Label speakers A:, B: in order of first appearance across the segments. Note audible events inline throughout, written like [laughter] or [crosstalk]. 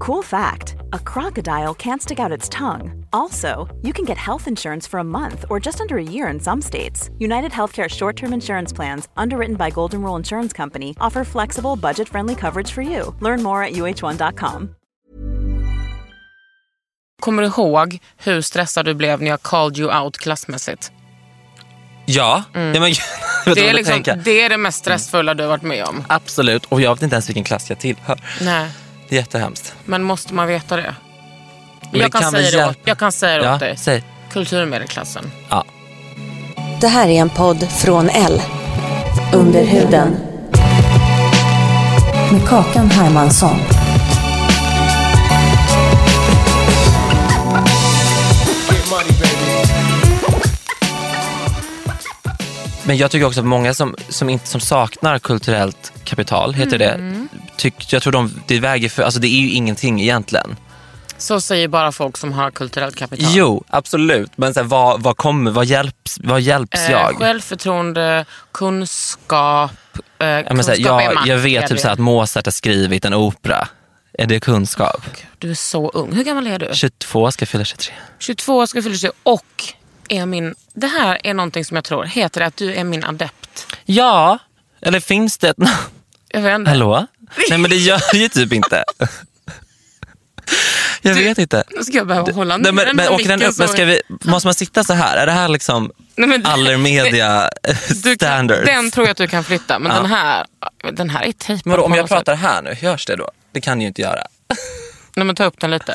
A: Cool fact a crocodile can't stick out its tongue. Also, you can get health insurance for a month or just under a year in some states. United Healthcare short term insurance plans, underwritten by Golden Rule Insurance Company, offer flexible, budget friendly coverage for you. Learn more at uh1.com.
B: Kommer du ihåg hur stressad du blev när jag called you out klassmässigt?
C: Ja, ja men, [laughs] jag
B: Det är, liksom,
C: tänka.
B: det är det mest stressfulla du har varit med om.
C: Absolut, och jag vet inte ens vilken klass jag tillhör.
B: Nej,
C: Det är jättehemskt.
B: men måste man veta det?
C: Men
B: Jag
C: det
B: kan,
C: kan väl
B: säga det åt,
C: hjälpa.
B: jag kan säga det
C: Ja,
B: åt dig.
C: säg.
B: Kulturmedelklassen.
C: Ja.
D: Det här är en podd från L. Under huden. Med Kakan Hermansson.
C: Men jag tycker också att många som, som, inte, som saknar kulturellt kapital, heter
B: Mm.
C: det, tyck, jag tror de, det väger för, alltså det är ju ingenting egentligen.
B: Så säger bara folk som har kulturellt kapital.
C: Jo, absolut. Men så här, vad, vad kommer, vad hjälps, vad hjälps
B: Eh,
C: jag?
B: självförtroende, kunskap. Eh,
C: Ja, men så här,
B: kunskap är
C: jag,
B: makt,
C: jag
B: är
C: vet typ
B: det.
C: så här, att Mozart har skrivit en opera. Är det kunskap?
B: Du är så ung. Hur gammal är du?
C: 22 ska fylla 23.
B: 22 ska fylla sig och är min... Det här är någonting som jag tror. Heter det att du är min adept?
C: Ja, eller finns det ett namn?
B: Jag vet inte.
C: Hallå? Nej men det gör det ju typ inte. Jag vet inte.
B: Nu ska jag behöva hålla
C: Nej, men, men, åker den
B: micken
C: upp, men
B: så-
C: ska vi, måste man sitta så här? Är det här liksom
B: Nej, men-
C: aller media
B: [laughs] Du kan-
C: standards?
B: Den tror jag att du kan flytta, men den här Den här är tejpad.
C: men då, om
B: på
C: jag
B: något sätt.
C: pratar här nu, hörs det då? Det kan ju inte göra.
B: Nej, men ta upp den lite.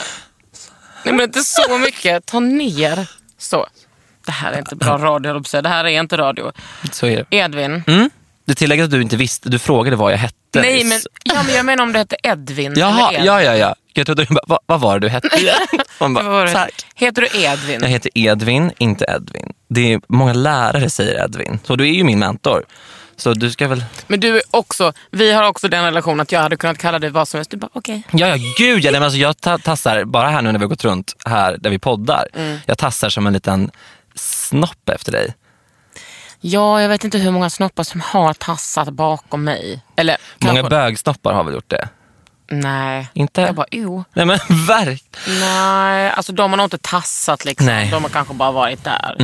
B: Nej, men inte så mycket. Ta ner. Så. Det här är inte bra radio, höll jag på att säga. Det här är inte radio.
C: Så är det.
B: Edvin.
C: Mm? Du tillägger att du inte visste, du frågade vad jag hette.
B: Nej,
C: nyss.
B: men, ja, men jag menar om det heter Edvin
C: Jaha,
B: eller Edvin.
C: ja, ja, ja. Jag trodde du bara, vad, vad var det du
B: [laughs]
C: hette igen? Man
B: Vad var
C: bara,
B: det?
C: tack.
B: Heter du Edvin?
C: Jag heter Edvin, inte Edvin. Det är, många lärare säger Edvin, så du är ju min mentor. Så du ska väl...
B: Men du är också, vi har också den relationen att jag hade kunnat kalla dig vad som helst. Du bara okej.
C: Ja, ja, gud ja. Nej, men alltså, jag ta- tassar, bara här nu när vi har gått runt här där vi poddar,
B: Mm.
C: jag tassar som en liten snopp efter dig.
B: Ja, jag vet inte hur många snoppar som har tassat bakom mig. Eller
C: Många
B: kanske-
C: bögsnoppar har väl gjort det?
B: Nej.
C: Inte?
B: Jag bara jo.
C: Nej men verk.
B: Nej, alltså de har nog inte tassat liksom.
C: Nej. Mhm.
B: De har kanske bara varit där.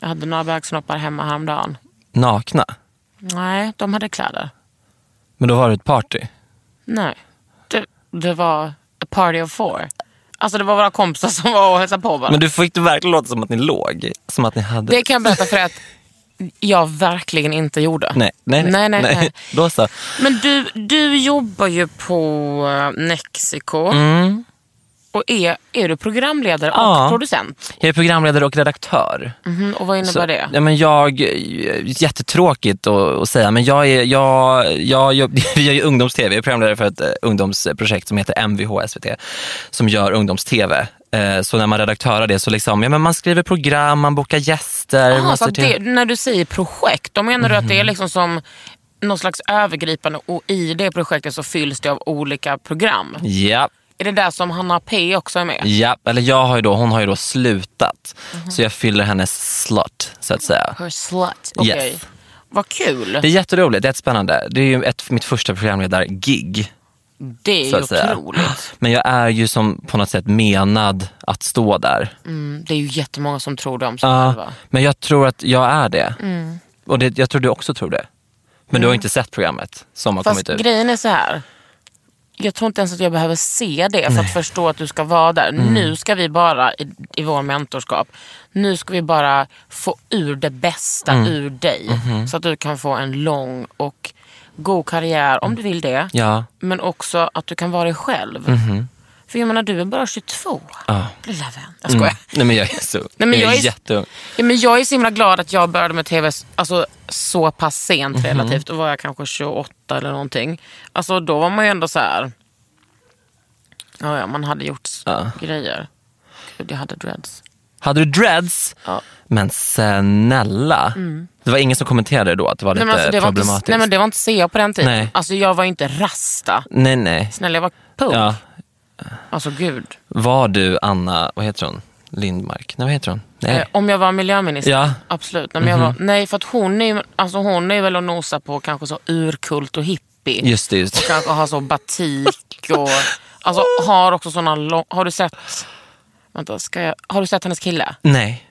B: Jag hade några bögsnoppar hemma häromdagen.
C: Nakna.
B: Nej, de hade kläder.
C: Men då var det ett party.
B: Nej. Det, det var a party of four. Alltså det var våra kompisar som var och hälsade på bara.
C: Men du fick det verkligen låta som att ni låg. Som att ni hade...
B: Det kan jag berätta för dig att jag verkligen inte gjorde.
C: Nej, nej,
B: nej, nej, nej.
C: Då så.
B: Men du, du jobbar ju på eh, Nexiko.
C: Mm.
B: Och är, är du programledare och
C: Ja.
B: producent?
C: Jag är programledare och redaktör.
B: Mhm, Och vad innebär
C: Så,
B: det?
C: Ja, men jag, jättetråkigt att, att säga, men jag är, jag, jag, jag, vi gör [laughs] ju ungdoms-tv. Jag är programledare för ett eh, ungdomsprojekt som heter MVH SVT, som gör ungdoms-tv. Eh, Så när man redaktörar det så liksom, ja, men man skriver program, man bokar gäster.
B: Jaha,
C: man
B: så
C: ser
B: att
C: till-
B: det, när du säger projekt, då menar du att det
C: Mhm.
B: är liksom som någon slags övergripande och i det projektet så fylls det av olika program.
C: Ja,
B: Är det där som Hanna P också är med?
C: ja. Eller jag har ju då, hon har ju då slutat.
B: Mhm.
C: Så jag fyller hennes slot, så att säga.
B: Her slut. Okej.
C: Yes.
B: Vad kul.
C: Det
B: Det,
C: är jätteroligt, det är jättespännande. Det är ju ett, mitt första programledar-gig.
B: är
C: så
B: ju
C: att säga.
B: otroligt.
C: Men jag är ju som på något sätt menad att stå där.
B: Mm, det är ju jättemånga som tror det om sig
C: Ja,
B: själva. Mm.
C: men jag tror att jag är det. Och det, jag tror du också tror det. Men du har inte sett programmet som har
B: Fast
C: kommit ut.
B: grejen är så här. Jag tror inte ens att jag behöver se det för att förstå att du ska vara där.
C: Mm.
B: Nu ska vi bara, i, i vår mentorskap, nu ska vi bara få ur det bästa
C: Mm.
B: ur dig.
C: Mm-hmm.
B: Så att du kan få en lång och god karriär, om du vill det.
C: Ja, Mm-hmm.
B: Men också att du kan vara dig själv. För jag menar, du är bara 22. Lilla vän. Jag skojar.
C: mm. Nej men jag är så,
B: Nej, men
C: jag
B: jag
C: är
B: är-
C: jätteung.
B: Ja, men jag är så himla glad att jag började med tv alltså, så pass sent
C: Mhm.
B: relativt. Då var jag kanske 28 eller någonting. Alltså, då var man ju ändå så här... Ja, ja, man hade gjort s-
C: Ja.
B: grejer. Gud, jag hade dreads.
C: Hade du dreads?
B: Ja. Mm.
C: Men snälla. Det var ingen som kommenterade det då att det var
B: Nej,
C: lite
B: men alltså, det var inte,
C: problematiskt?
B: nej men det var inte CA på den tiden.
C: Nej.
B: Alltså jag var ju inte rasta.
C: nej, nej.
B: Snälla jag var punk.
C: Ja.
B: Alltså gud.
C: Var du Anna, vad heter hon? Lindmark? Nej, vad heter hon? Nej.
B: Eh, om jag var miljöminister?
C: Ja. Mhm.
B: Absolut. Nej, men jag var, nej för att hon är, ju- alltså, hon är väl och nosar på kanske så urkult och hippie.
C: Just det, just
B: Och
C: det.
B: kanske har så batik och alltså, har också såna lång... Har du sett... Vänta, ska jag, har du sett hennes kille?
C: Nej.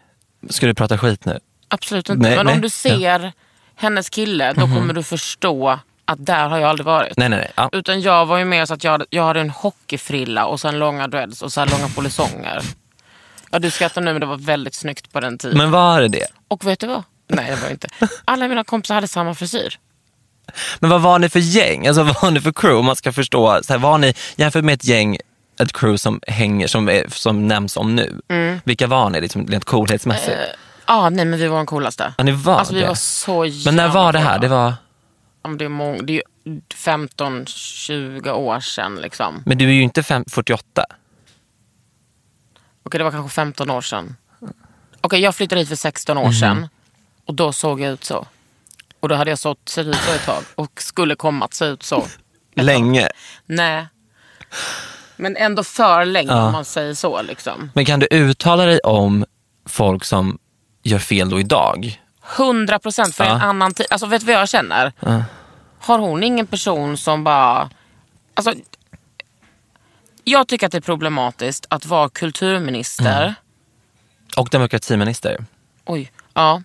C: Ska du prata skit nu?
B: Absolut inte.
C: Nej,
B: men
C: nej. Mhm.
B: om du ser hennes kille, då kommer du förstå att där har jag aldrig varit.
C: Nej, nej, nej. Ja.
B: Utan jag var ju mer så att jag hade, jag hade en hockeyfrilla och sen långa dreads och så här långa polisonger. Ja, du skrattar nu men det var väldigt snyggt på den tiden.
C: Men var det det?
B: Och vet du vad? Nej det var det inte. Alla mina kompisar hade samma frisyr.
C: Men vad var ni för gäng? Alltså [laughs] vad var ni för crew? Om man ska förstå, så här, var ni, jämfört med ett gäng, ett crew som hänger, som, är, som nämns om nu.
B: Mm.
C: Vilka var ni liksom, rent coolhetsmässigt?
B: Ja, ah, nej men vi var de coolaste.
C: Ja, ni var
B: alltså vi
C: det.
B: var så jävla
C: Men när var det här?
B: coola.
C: Det var,
B: Ja, men det är, mång- det är ju 15-20 år sedan. Liksom.
C: men du är ju inte fem, 48.
B: Okej, det var kanske 15 år sedan. Okej, jag flyttade hit för 16
C: Mhm.
B: år sedan och då såg jag ut så. Och då hade jag sått, sett ut så ett tag och skulle komma att se ut
C: [laughs]
B: så.
C: Länge.
B: Nej. Men ändå för länge
C: Ja.
B: om man säger så. Liksom.
C: Men kan du uttala dig om folk som gör fel då idag?
B: 100 procent för
C: Ja.
B: en annan tid. Alltså vet du vad jag känner? Har hon ingen person som bara... Alltså, jag tycker att det är problematiskt att vara kulturminister
C: Mm. Och demokratiminister.
B: Oj, ja.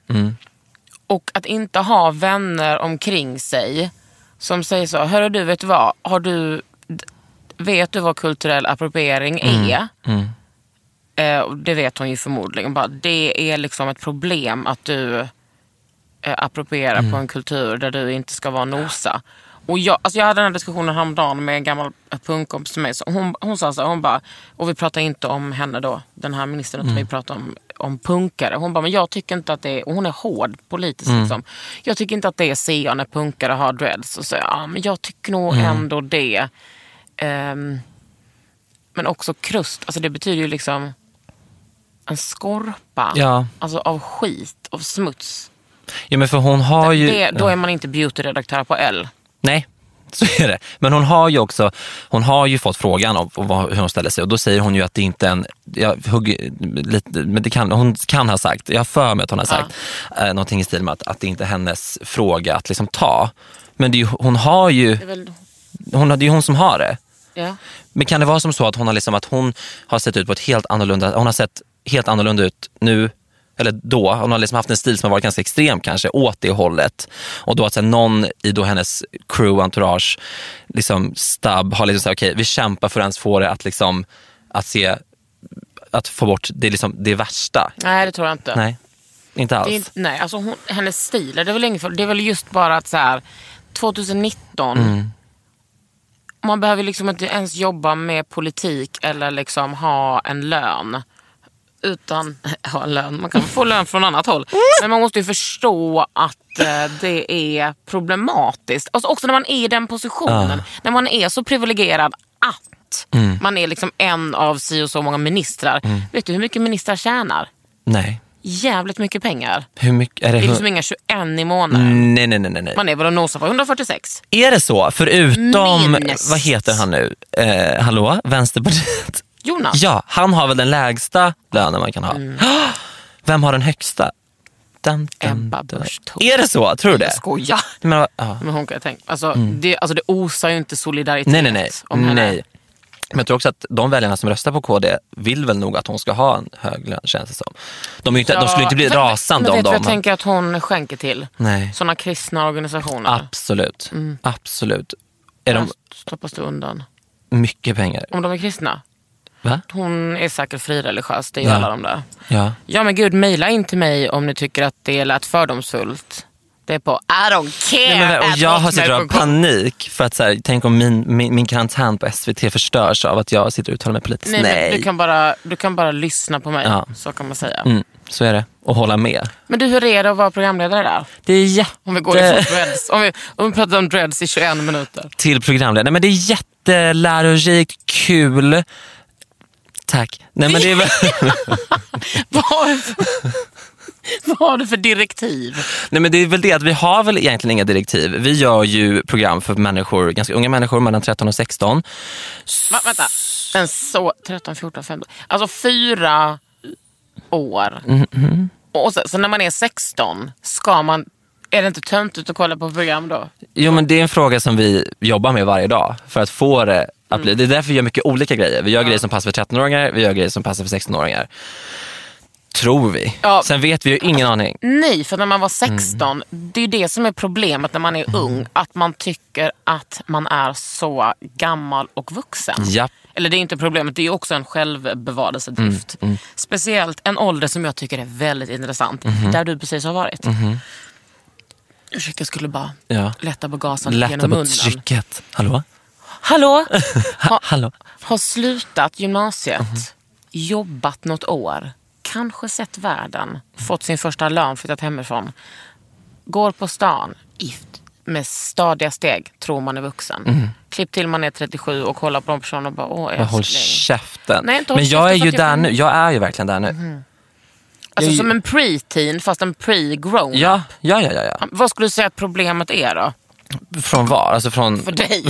B: Och att inte ha vänner omkring sig som säger så, hörru du, vet du vad, har du, d- vet du vad kulturell appropriering är? Eh, och det vet hon ju förmodligen. Bara, det är liksom ett problem att du eh, approprierar på en kultur där du inte ska vara nosa. Och jag, alltså jag hade den här diskussionen häromdagen med en gammal punkkompis till mig. Så hon, hon sa så här, hon bara, och vi pratar inte om henne då, den här ministern, utan vi pratar om, om punkare. Hon bara, men jag tycker inte att det är, och hon är hård politiskt liksom. Jag tycker inte att det är CA när punkare har dreads. Och så, ja, men jag tycker nog ändå det. Ehm, men också krust, alltså det betyder ju liksom en skorpa
C: Ja.
B: alltså av skit, av smuts.
C: Ja, men för hon har ju...
B: Det, då
C: Ja.
B: är man inte beautyredaktör på L.
C: Nej, [laughs] så är det. Men hon har ju också hon har ju fått frågan om vad, hur hon ställer sig och då säger hon ju att det inte är en... Jag hugger lite, men det kan, hon kan ha sagt, jag har för mig att hon har sagt eh, någonting i stil med att, att det inte är hennes fråga att liksom ta. Men det är ju, hon har ju...
B: Det är väl,
C: Hon, det är ju hon som har det.
B: ja.
C: Men kan det vara som så att hon har, liksom, att hon har sett ut på ett helt annorlunda... Hon har sett helt annorlunda ut nu, eller då. Hon har liksom haft en stil som har varit ganska extrem kanske, åt det hållet. Och då att sen någon i då hennes crew, entourage, liksom stab har liksom sagt okej, vi kämpar för att ens få det att, liksom, att se att få bort det, liksom, det värsta.
B: Nej, det tror jag inte.
C: Nej, inte alls.
B: Det är inte nej, alltså hon, hennes stil, det är väl, ingen, fel. det är väl just bara att så här, 2019, man behöver liksom inte ens jobba med politik eller liksom ha en lön. Utan, [laughs] ha en lön, man kan [laughs] Mm. få lön från annat håll. Men man måste ju förstå att eh, det är problematiskt. Alltså också när man är i den positionen, när man är så privilegierad att man är liksom en av si och så många ministrar. Vet du hur mycket ministrar tjänar?
C: Nej.
B: jävligt mycket pengar.
C: Hur Mm. mycket? Är det,
B: Det är liksom
C: hu-
B: inga 21 i månaden.
C: Nej, nej, nej, nej. nej.
B: Man är väl och nosar på 146.
C: Är det så? Förutom,
B: Minst.
C: vad heter han nu? Eh, hallå, Vänsterpartiet?
B: Jonas,
C: Ja, han har väl den lägsta lönen man kan ha.
B: Mm.
C: Vem har den högsta? Dun, dun,
B: Ebba
C: dun.
B: Busch Thor.
C: Är det så? Tror du det?
B: Jag skojar.
C: Men, ja.
B: Men hon kan jag tänka. Alltså, det, alltså det osar ju inte solidaritet
C: Mm. Nej, nej, nej.
B: om henne.
C: nej. Men jag tror också att de väljarna som röstar på KD vill väll nog att hon ska ha en hög lön känns det som. De, är ju inte, de skulle inte bli
B: men-
C: rasande
B: men
C: om
B: vet du vad
C: de...
B: Jag tänker att hon skänker till
C: Nej.
B: sådana kristna organisationer.
C: Absolut.
B: Mm.
C: Absolut. Är
B: Där
C: de
B: stoppas du undan.
C: mycket pengar?
B: Om de är kristna.
C: Va?
B: Hon är säkert frireligiös, det är ju
C: Ja.
B: alla de där.
C: Ja.
B: Ja men gud, mejla in till mig om ni tycker att det lät fördomsfullt. Det är på I don't care.
C: Nej, men, och
B: at
C: jag har sitter och har
B: hotmail.com.
C: panik för att så här, tänk om min, min, min karantän på SVT förstörs av att jag sitter och uttalar mig politiskt.
B: Nej,
C: Nej,
B: men Du, kan bara, du kan bara lyssna på mig,
C: Ja.
B: så kan man säga.
C: mm, så är det. Och hålla med.
B: Men du, hur är det att vara programledare där?
C: Det är jätte...
B: Om vi går ifrån dreads. Om vi, om vi pratar om dreads i 21 minuter. [laughs]
C: till programledare. Nej, men det är jättelärorikt, kul. Tack. Nej, men
B: [laughs]
C: det är väl... [laughs]
B: Vad har du för, vad har du för [laughs] direktiv?
C: Nej, men det är väl det att vi har väl egentligen inga direktiv. Vi gör ju program för människor, ganska unga människor mellan 13 och 16.
B: Va, vänta. Men så, 13, 14, 15. Alltså fyra år.
C: Mm-hmm.
B: Och så, så när man är 16, ska man, är det inte töntigt att kolla på program då?
C: Jo, men det är en fråga som vi jobbar med varje dag för att få det att
B: Mm.
C: bli... Det är därför vi gör mycket olika grejer. Vi gör grejer som passar för 13-åringar, vi gör grejer som passar för 16-åringar. Tror vi.
B: Ja. Alltså,
C: Sen vet vi ju ingen aning.
B: Nej, för när man var
C: Mm.
B: 16, det är ju det som är problemet när man är ung. Att man tycker att man är så gammal och vuxen.
C: Japp.
B: Eller det är inte problemet, det är också en självbevarelsedrift.
C: Mm,
B: Speciellt en ålder som jag tycker är väldigt intressant,
C: Mhm.
B: där du precis har varit. Ursäkta, jag skulle bara
C: Ja.
B: lätta på gasen
C: Lätta
B: genom
C: på
B: munnen.
C: trycket. Hallå?
B: [laughs] Hallå?
C: Ha, hallå?
B: Har slutat gymnasiet, jobbat något år, kanske sett världen, fått sin första lön, flyttat hemifrån. Går på stan, gift, med stadiga steg, tror man är vuxen. Klipp till man är 37 och kollar på de personerna och bara, åh
C: Mm. Men Håll
B: älskling.
C: käften.
B: Nej, inte håll
C: men jag är
B: käften,
C: ju
B: för att jag Mm.
C: där
B: kan-
C: nu. Jag är ju verkligen där nu.
B: Alltså
C: Jag-
B: som en pre-teen fast en pre-grown.
C: Ja, ja, ja, ja, ja.
B: Vad skulle du säga att problemet är då?
C: Från var? Alltså från...
B: För
C: [laughs]
B: dig?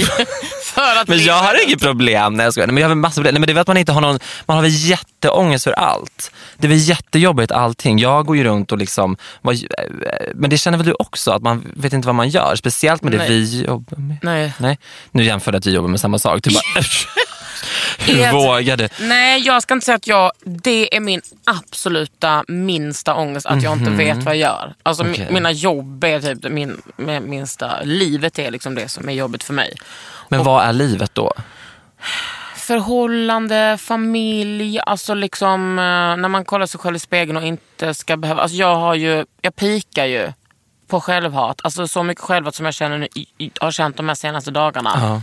B: För att
C: Men
B: vi-
C: jag har inget problem. Nej, jag skojar. Nej, men jag har väl massa problem. Nej, men det är väl att man inte har någon... Man har väl jätteångest för allt. Det är väl jättejobbigt allting. Jag går ju runt och liksom... vad- eh, Men det känner väl du också? Att man vet inte vad man gör. Speciellt med det
B: Nej.
C: vi jobbar med.
B: Nej.
C: Nej. Nu jämförde jag att vi jobbar med samma sak.
B: [laughs]
C: Du bara, hur
B: Helt-
C: vågar du?
B: Nej, jag ska inte säga att jag... Det är min absoluta minsta ångest, att jag inte vet vad jag gör. Alltså mi-
C: Mhm. Okej.
B: mina jobb är typ det min, med minsta... Livet är liksom det som är jobbigt för mig.
C: Men vad är livet då?
B: Förhållande, familj, alltså liksom... eh, När man kollar sig själv i spegeln och inte ska behöva... Alltså jag har ju... Jag pikar ju på självhat. Alltså så mycket självhat som jag känner nu, i- i- har känt de här senaste dagarna
C: Ja.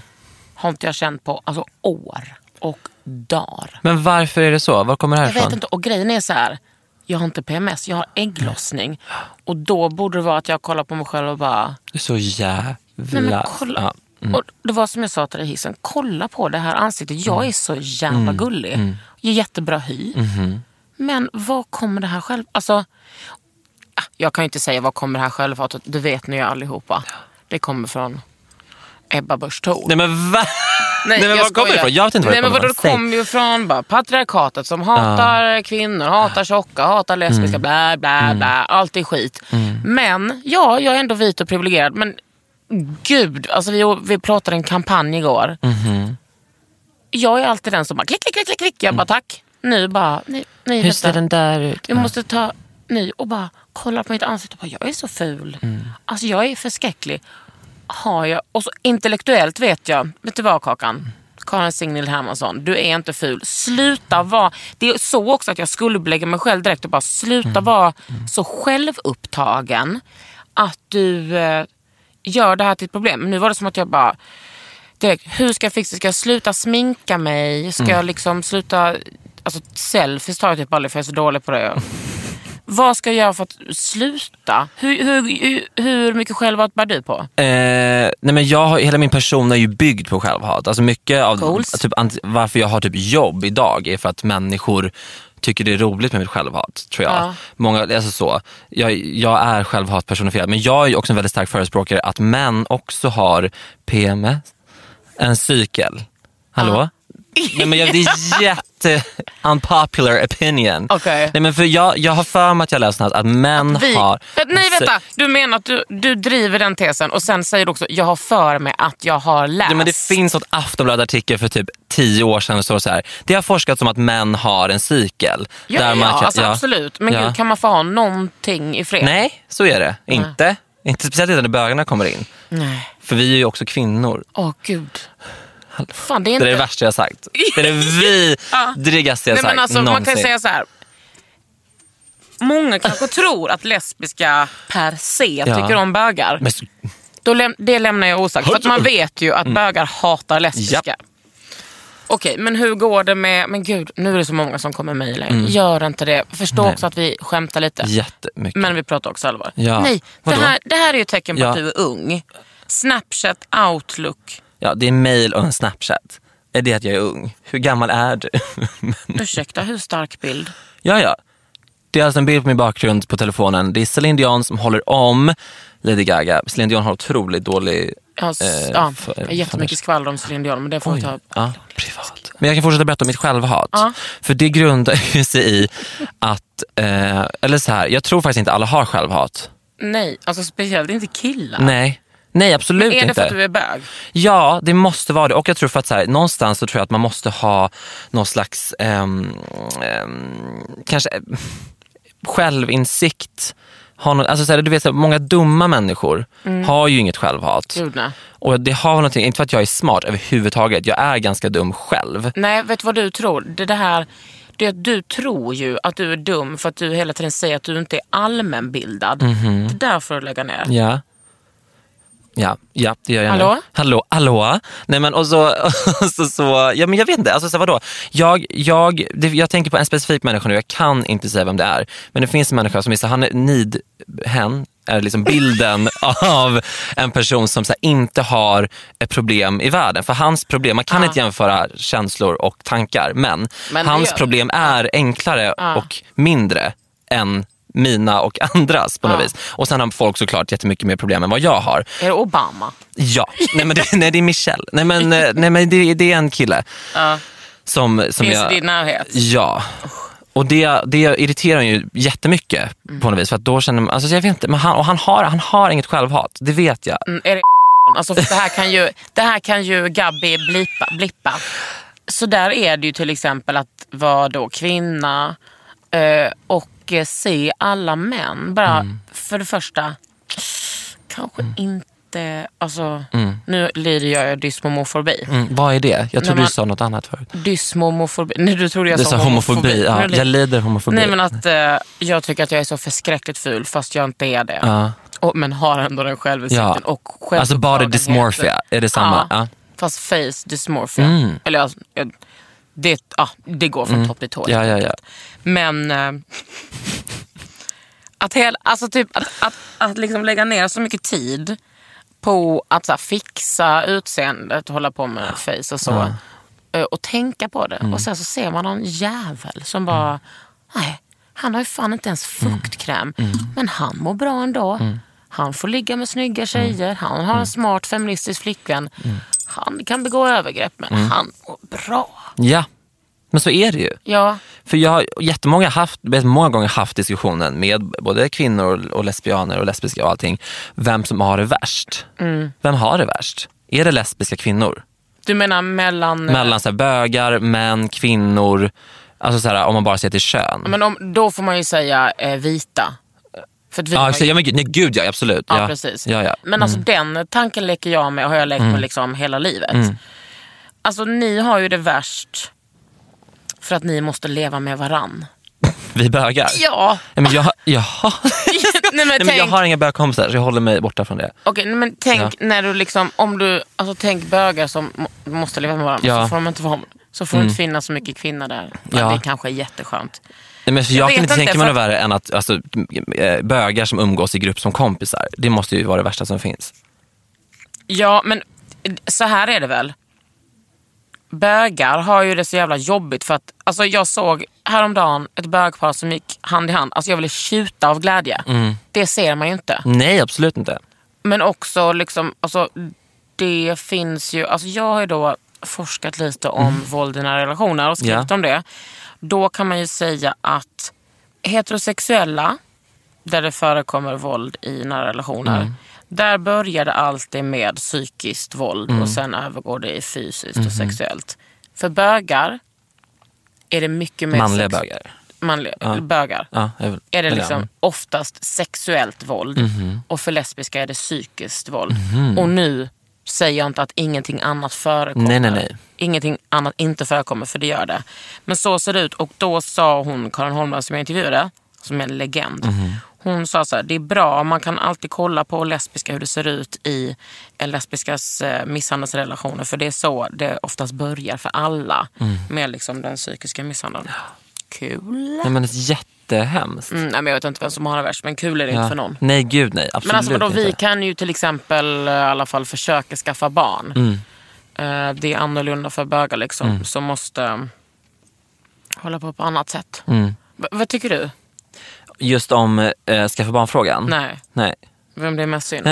B: har inte jag känt på alltså år och dagar.
C: Men varför är det så? Var kommer det här
B: Jag vet
C: ifrån?
B: inte. Och grejen är så här. Jag har inte PMS, jag har ägglossning. Och då borde det vara att jag kollar på mig själv och bara...
C: Du är så jävla...
B: Nej, men kolla.
C: Ja.
B: Och det var som jag sa till dig i hissen. Kolla på det här ansiktet. Jag är så jävla gullig. Jag har jättebra hy. Men var kommer det här själv... Alltså, ah, jag kan ju inte säga var kommer det här självhatet. Det vet ni ju allihopa. Det kommer från Ebba Busch Thor.
C: Nej men va? Nej, men
B: jag
C: var kommer
B: skojar.
C: det ifrån? Jag vet inte var
B: Nej,
C: det
B: men
C: kommer
B: vadå, det
C: ifrån.
B: kommer ju från bara, patriarkatet som hatar kvinnor, hatar tjocka, hatar lesbiska,
C: Mm.
B: bla bla bla. Allt är skit. Men ja, jag är ändå vit och privilegierad. Men gud, alltså vi, vi pratade en kampanj igår.
C: Mm-hmm.
B: Jag är alltid den som bara klick, klick, klick, klick, klick. Jag bara tack. Nu bara, nej, nej
C: Hur
B: vänta.
C: ser den där ut?
B: Jag måste ta ny och bara kolla på mitt ansikte och bara, jag är så ful. Alltså jag är förskräcklig. Har jag, och så intellektuellt vet jag, vet du vad Kakan? Karin Signil Hermansson, du är inte ful. Sluta vara... Det är så också att jag skulle lägga mig själv direkt och bara sluta vara så självupptagen att du eh, gör det här till ett problem. Men nu var det som att jag bara direkt, hur ska jag fixa det? Ska jag sluta sminka mig? Ska
C: Mm.
B: jag liksom sluta... Alltså selfies tar jag typ aldrig för jag är så dålig på det. Vad ska jag göra för att sluta? Hur, hur, hur, hur mycket självhat bär du på?
C: Eh, nej men jag, har- hela min person är ju byggd på självhat. Alltså mycket av
B: Goals.
C: typ, ant- varför jag har typ jobb idag är för att människor tycker det är roligt med mitt självhat. tror jag.
B: Ja.
C: Många, alltså så. Jag, jag är självhat personifierad men jag är ju också en väldigt stark förespråkare att män också har PMS, en cykel. Hallå? Nej, men jag, det
B: [laughs]
C: är jätte unpopular opinion.
B: Okej.
C: Nej, men för jag, jag har för mig att jag läst någonstans att män
B: Vi,
C: har... Alltså-
B: Vä- nej vänta, du menar att du, du driver den tesen och sen säger du också jag har för mig att jag har läst.
C: Ja, men det finns något Aftonbladet-artikel för typ tio år sedan. Så så här. Det har forskats om att män har en cykel.
B: ja, ja,
C: man kan-
B: alltså, absolut. Men
C: Ja.
B: gud, kan man få ha någonting i fred?
C: Nej, så är det inte. Inte speciellt inte när bögarna kommer in.
B: Nej.
C: För vi är ju också kvinnor.
B: Åh gud. Fan, det är
C: Det
B: inte...
C: är det värsta jag har sagt.
B: [laughs]
C: Det är det vidrigaste jag
B: Nej,
C: har sagt
B: men alltså, man kan
C: någonsin.
B: ju säga så här. många
C: [laughs]
B: kanske tror att lesbiska per se tycker om bögar.
C: Men, så-
B: Då läm- det lämnar jag osagt. För att man vet ju att
C: Mm.
B: bögar hatar lesbiska.
C: Japp.
B: Okej, men hur går det med... Men gud, nu är det så många som kommer mejla in.
C: Mm.
B: Gör inte det. Förstå också att vi skämtar lite.
C: jättemycket.
B: Men vi pratar också allvar.
C: Ja.
B: Nej, det
C: Vadå?
B: här, det här är ju ett tecken på
C: Ja.
B: att du är ung. Snapchat, Outlook.
C: Ja, det är en mail och en Snapchat. Är det att jag är ung? Hur gammal är du? [laughs]
B: Ursäkta, hur stark bild?
C: ja, ja. Det är alltså en bild på min bakgrund på telefonen. Det är Celine Dion som håller om Lady Gaga. Celine Dion har otroligt dålig...
B: Jag har,
C: eh,
B: s- ja,
C: för-
B: jättemycket skvaller om Céline Dion, men det får vi ta.
C: Ja, privat. Men jag kan fortsätta berätta om mitt självhat.
B: Ja.
C: För det grundar ju sig i att, eh, eller så här, jag tror faktiskt inte alla har självhat.
B: Nej, alltså speciellt inte killar.
C: Nej. Nej, absolut
B: är det
C: inte.
B: för att du är bög?
C: Ja, det måste vara det. Och jag tror för att så här, någonstans så tror jag att man måste ha någon slags ehm, ehm, kanske eh, självinsikt. Ha någon, alltså så här, du vet, så här, många dumma människor har ju inget självhat.
B: Mm. Gud, nej.
C: Och det har någonting, inte för att jag är smart överhuvudtaget, jag är ganska dum själv.
B: Nej, vet du vad du tror? Det, det här, det är att du tror ju att du är dum för att du hela tiden säger att du inte är allmänbildad. Det där får du lägga ner.
C: Mhm. Ja. Ja, ja, det gör jag
B: Hallå?
C: nu. Hallå? Hallå? Nej men och så, och så, så ja men jag vet inte, alltså så här, vadå? Jag, jag, det, jag tänker på en specifik människa nu, jag kan inte säga vem det är. Men det finns en människa som är så han är nid, hen, är
B: [laughs]
C: liksom bilden av en person som så här, inte har ett problem i världen. För hans problem, man kan inte jämföra känslor och tankar, men,
B: Men det
C: hans
B: gör-
C: problem är enklare och mindre än mina och [laughs] andras på något vis. Och sen har folk såklart jättemycket mer problem än vad jag har.
B: Är det Obama?
C: Ja, nej, men det, nej, det är Michelle. Nej, men, eh, nej, men det, det är en kille. Som, som
B: Finns
C: jag,
B: i din närhet?
C: Ja. Och det, det irriterar ju jättemycket på något vis. För att då känner man, alltså jag vet inte, men han, och han, har, han har inget självhat, det vet jag.
B: Mm, är det [laughs] alltså, för det, här kan ju, det här kan ju Gabby blipa, blippa. Så där är det ju till exempel att vara då kvinna eh, och eh, se alla män. Bara för det första, kanske inte... Alltså, Nu lider jag ju dysmomofobi.
C: Mm, vad är det? Jag trodde
B: man-
C: du sa något annat förut.
B: Dysmomofobi. Nej, du trodde jag
C: Det
B: sa
C: sa homofobi. Ja,
B: Nu
C: jag lider homofobi.
B: Nej men att eh, jag tycker att jag är så förskräckligt ful fast jag inte är det.
C: Ja.
B: Och, men har ändå den självinsikten
C: Ja.
B: och självupptagenheten.
C: Alltså body dysmorphia, är det samma?
B: Ja.
C: Ja. Mm.
B: Fast face dysmorphia. Eller alltså, jag- det, ja, det går från topp till tå.
C: Ja, ja, ja.
B: Men eh, att, hel, alltså typ, att, att, att liksom lägga ner så mycket tid på att så här, fixa utseendet, hålla på med face och så. eh, Och tänka på det. Och sen så ser man någon jävel som bara, nej, han har ju fan inte ens fuktkräm. Men han mår bra ändå. Han får ligga med snygga tjejer, han har en smart feministisk flickvän. Han kan begå övergrepp, men han mår bra.
C: ja, men så är det ju.
B: Ja,
C: För jag har jättemånga, haft, vet, många gånger haft diskussionen med både kvinnor och, och lesbianer och lesbiska och allting, vem som har det värst.
B: Mm.
C: Vem har det värst? Är det lesbiska kvinnor?
B: du menar mellan...
C: Mellan så här, bögar, män, kvinnor, alltså så här, om man bara ser till kön.
B: Men om, då får man ju säga eh, vita. För att vi
C: ja,
B: har
C: alltså,
B: ju,
C: ja, men, gud- nej, gud ja, absolut.
B: ja,
C: ja.
B: precis.
C: Ja, Mm. ja.
B: Men alltså den tanken leker jag med och har jag lekt med liksom hela livet.
C: Mm.
B: Alltså ni har ju det värst för att ni måste leva med varann.
C: Vi bögar.
B: Ja!
C: Nej, men jag,
B: [laughs]
C: jaha.
B: Nej, men
C: Nej, men jag
B: tänk-
C: har inga bögkompisar så jag håller mig borta från det.
B: Okej, nej, men tänk när du liksom, om du, alltså tänk bögar som må, måste leva med varandra,
C: Ja. Mm.
B: så får de inte vara så får det inte finnas så mycket kvinnor där. Ja.
C: Ja.
B: det kanske är jätteskönt.
C: Nej, men för jag
B: vet
C: kan inte
B: inte,
C: tänka mig
B: för-
C: något värre än att alltså, eh, bögar som umgås i grupp som kompisar, det måste ju vara det värsta som finns.
B: Ja, men så här är det väl. Bögar har ju det så jävla jobbigt för att alltså jag såg häromdagen ett bögpar som gick hand i hand. Alltså jag ville tjuta av glädje. Det ser man ju inte.
C: Nej, absolut inte.
B: Men också liksom, alltså det finns ju, alltså jag har ju då forskat lite om våld i nära relationer och skrivit
C: Mm. Ja.
B: om det. Då kan man ju säga att heterosexuella, där det förekommer våld i nära relationer,
C: Mm.
B: där började allt det med psykiskt våld
C: Mm.
B: och sen övergår det i fysiskt
C: Mhm.
B: och sexuellt. För bögar är det mycket mer
C: Manliga
B: sex-
C: bögar.
B: manliga bögar
C: Ja, jag vill-
B: är det
C: eller,
B: liksom oftast sexuellt våld
C: Mhm.
B: och för lesbiska är det psykiskt våld. Och nu säger jag inte att ingenting annat förekommer.
C: Nej, nej, nej.
B: Ingenting annat inte förekommer, för det gör det. Men så ser det ut och då sa hon, Karin Holmberg som jag intervjuade, som är en legend.
C: Mhm.
B: Hon sa så här, det är bra, man kan alltid kolla på lesbiska hur det ser ut i eh, lesbiskas eh, misshandelsrelationer. För det är så det oftast börjar för alla
C: Mm.
B: med liksom den psykiska misshandeln. Kul.
C: Nej, men det är jättehemskt.
B: Mm, nej, men jag vet inte vem som har det värst, men kul är det
C: Ja.
B: inte för någon.
C: Nej, gud nej. Absolut
B: Men alltså vadå,
C: inte.
B: vi kan ju till exempel eh, i alla fall försöka skaffa barn.
C: Mm.
B: Eh, Det är annorlunda för bögar liksom, som måste eh, hålla på på annat sätt.
C: Mm.
B: V- vad tycker du?
C: Just om eh, skaffa barn-frågan?
B: Nej,
C: nej.
B: vem det är mest
C: [laughs]
B: synd?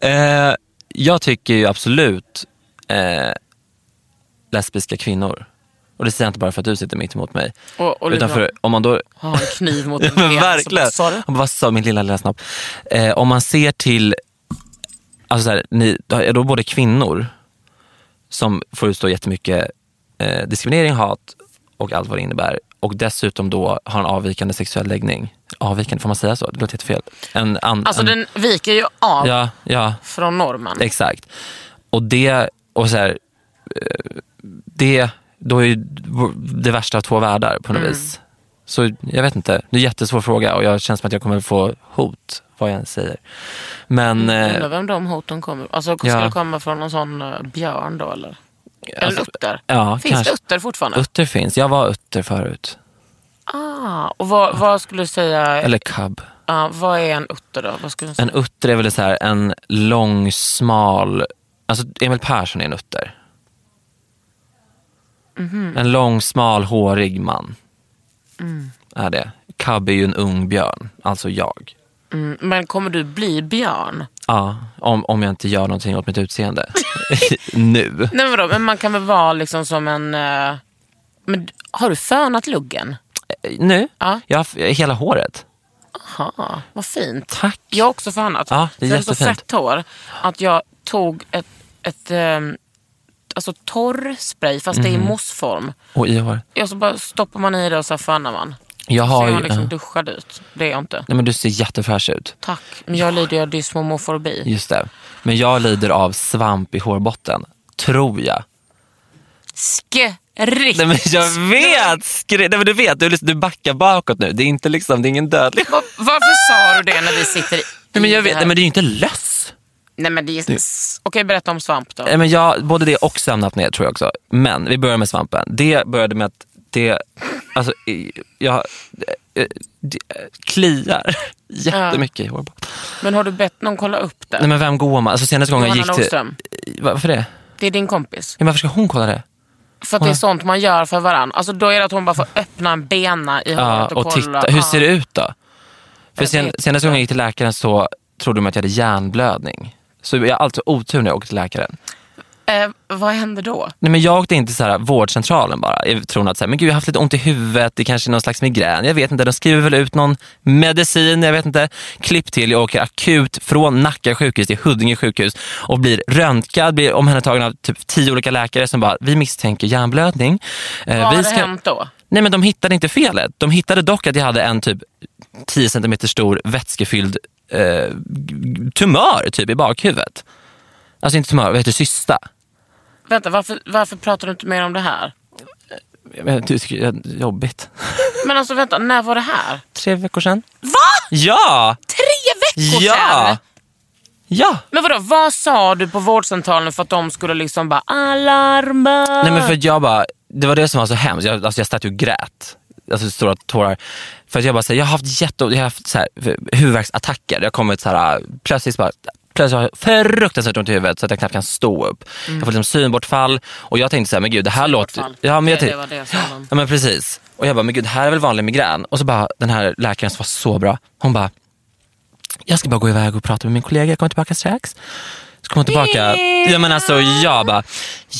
C: Eh, jag tycker ju absolut eh, lesbiska kvinnor. Och det säger jag inte bara för att du sitter mitt emot mig.
B: Och, och
C: Utan
B: Olivia
C: för om man då...
B: har en kniv
C: [laughs]
B: mot
C: Ja,
B: en
C: men
B: pen, så alltså bara,
C: verkligen.
B: "Sa du?"
C: Han bara, Vad sa min lilla lilla snopp? Eh, om man ser till, alltså så här, ni, är då både kvinnor som får utstå jättemycket eh, diskriminering, hat och allt vad det innebär och dessutom då har en avvikande sexuell läggning. Avvikande, får man säga så? Det låter jättefel. En, an,
B: Alltså
C: en,
B: den viker ju av
C: Mm. Ja, ja.
B: från normen.
C: Exakt. Och det, och så här, eh, det, då är ju det värsta av två världar på något
B: Mm.
C: vis. Så jag vet inte, det är en jättesvår fråga och jag känns som att jag kommer få hot vad jag än säger. Men
B: Undrar
C: eh,
B: vem de hoten kommer Alltså ska
C: Ja.
B: det komma från någon sån eh, björn då eller?
C: Alltså,
B: eller utter?
C: ja,
B: Finns
C: kanske.
B: det utter fortfarande?
C: utter finns, jag var utter förut.
B: ah, och vad, vad skulle du säga
C: Eller cub.
B: Ja, vad är en utter då? Vad skulle du säga?
C: En utter är väl så här en lång, smal, alltså Emil Persson är en utter.
B: Mhm.
C: En lång, smal, hårig man.
B: Mm.
C: Är det. Cub är ju en ung björn, alltså jag.
B: Mm, men kommer du bli björn?
C: Ja, om, om jag inte gör någonting åt
B: [laughs]
C: mitt utseende. [laughs] nu.
B: Nej men vadå, men man kan väl vara liksom som en... eh, Men d- har du fönat luggen?
C: Nu?
B: Ja.
C: Jag har f- hela håret.
B: Aha, vad fint.
C: Tack.
B: Jag har också fönat.
C: Ja, det är
B: Så jag har så
C: jättefint.
B: fett hår att jag tog ett, ett ehm, alltså torr spray fast det är i
C: Mhm.
B: mossform.
C: Och i hår.
B: Och så bara stoppar man i det och så här fönar man.
C: Jag
B: Så
C: har
B: jag
C: ju...
B: har liksom
C: ja.
B: duschad ut. Det är jag inte.
C: Nej men du ser jättefräsch ut.
B: Tack. Men jag lider ju av dysmomofobi.
C: Just det. Men jag lider av svamp i hårbotten. Tror jag.
B: Skräck!
C: Nej men jag vet! Skri- Nej, men du vet, du, du backar bakåt nu. Det är inte liksom, det är ingen dödlig
B: Var, varför sa du det när vi sitter i
C: Nej men jag
B: i
C: vet,
B: det
C: nej,
B: här?
C: men det är ju inte löss.
B: Nej men det är... Okej, berätta om svamp då.
C: Nej, men jag, både det och sömnat ner tror jag också. Men vi börjar med svampen. Det började med att det, alltså i- jag, eh, det kliar jättemycket i hårbotten.
B: Men har du bett någon kolla upp det?
C: Nej men vem går man? Alltså senaste gången jag
B: Johanna
C: gick till...
B: Nordström.
C: Varför det?
B: Det är din kompis.
C: Ja, men varför ska hon kolla det?
B: För att det är sånt man gör för varandra. Alltså då är det att hon bara får öppna en bena i
C: Ja,
B: håret och,
C: och
B: kolla.
C: titta, hur ser det ut då? För
B: Jag
C: sen,
B: vet
C: senaste gången jag gick till läkaren så trodde de att jag hade hjärnblödning. Så jag har alltid otur när jag åker till läkaren.
B: Eh, vad händer då?
C: Nej, men jag åkte in till så här, vårdcentralen bara. Jag tror att så här, men gud, jag har haft lite ont i huvudet, det kanske är någon slags migrän. Jag vet inte, de skriver väl ut någon medicin, jag vet inte. Klipp till, jag åker akut från Nacka sjukhus till Huddinge sjukhus och blir röntgad, blir omhändertagen av typ tio olika läkare som bara, vi misstänker hjärnblödning. Eh,
B: Vad har
C: vi
B: det
C: ska-
B: hänt då?
C: Nej men de hittade inte felet. De hittade dock att jag hade en typ 10 cm stor vätskefylld eh, g- tumör typ i bakhuvudet. Alltså inte tumör, vad heter det? cysta?
B: Vänta, varför, varför pratar du inte mer om det här?
C: Jag menar, du tycker det är jobbigt.
B: Men alltså vänta, när var det här?
C: Tre veckor sedan.
B: Va?
C: Ja!
B: Tre veckor
C: Ja!
B: sedan?
C: Ja!
B: Men vadå, vad sa du på vårdcentralen för att de skulle liksom bara alarma?
C: Nej men för att jag bara, det var det som var så hemskt. Jag, alltså jag satt ju och grät. Alltså stora tårar. För att jag bara säger, jag har haft jätte, jag har haft så här, huvudvärksattacker. Jag har kommit så här, plötsligt bara Plötsligt har jag fruktansvärt ont i huvudet så att jag knappt kan stå upp. Jag får liksom synbortfall och jag tänkte så här, men gud det här låter...
B: Mm. Synbortfall.
C: Ja, men jag
B: Nej, det
C: tänkte-
B: var det som de-
C: Ja men precis. Och jag bara, men gud det här är väl vanlig migrän? Och så bara den här läkaren som var så bra, hon bara, jag ska bara gå iväg och prata med min kollega, jag kommer tillbaka strax. Så kom hon tillbaka. Ja, men alltså, jag bara,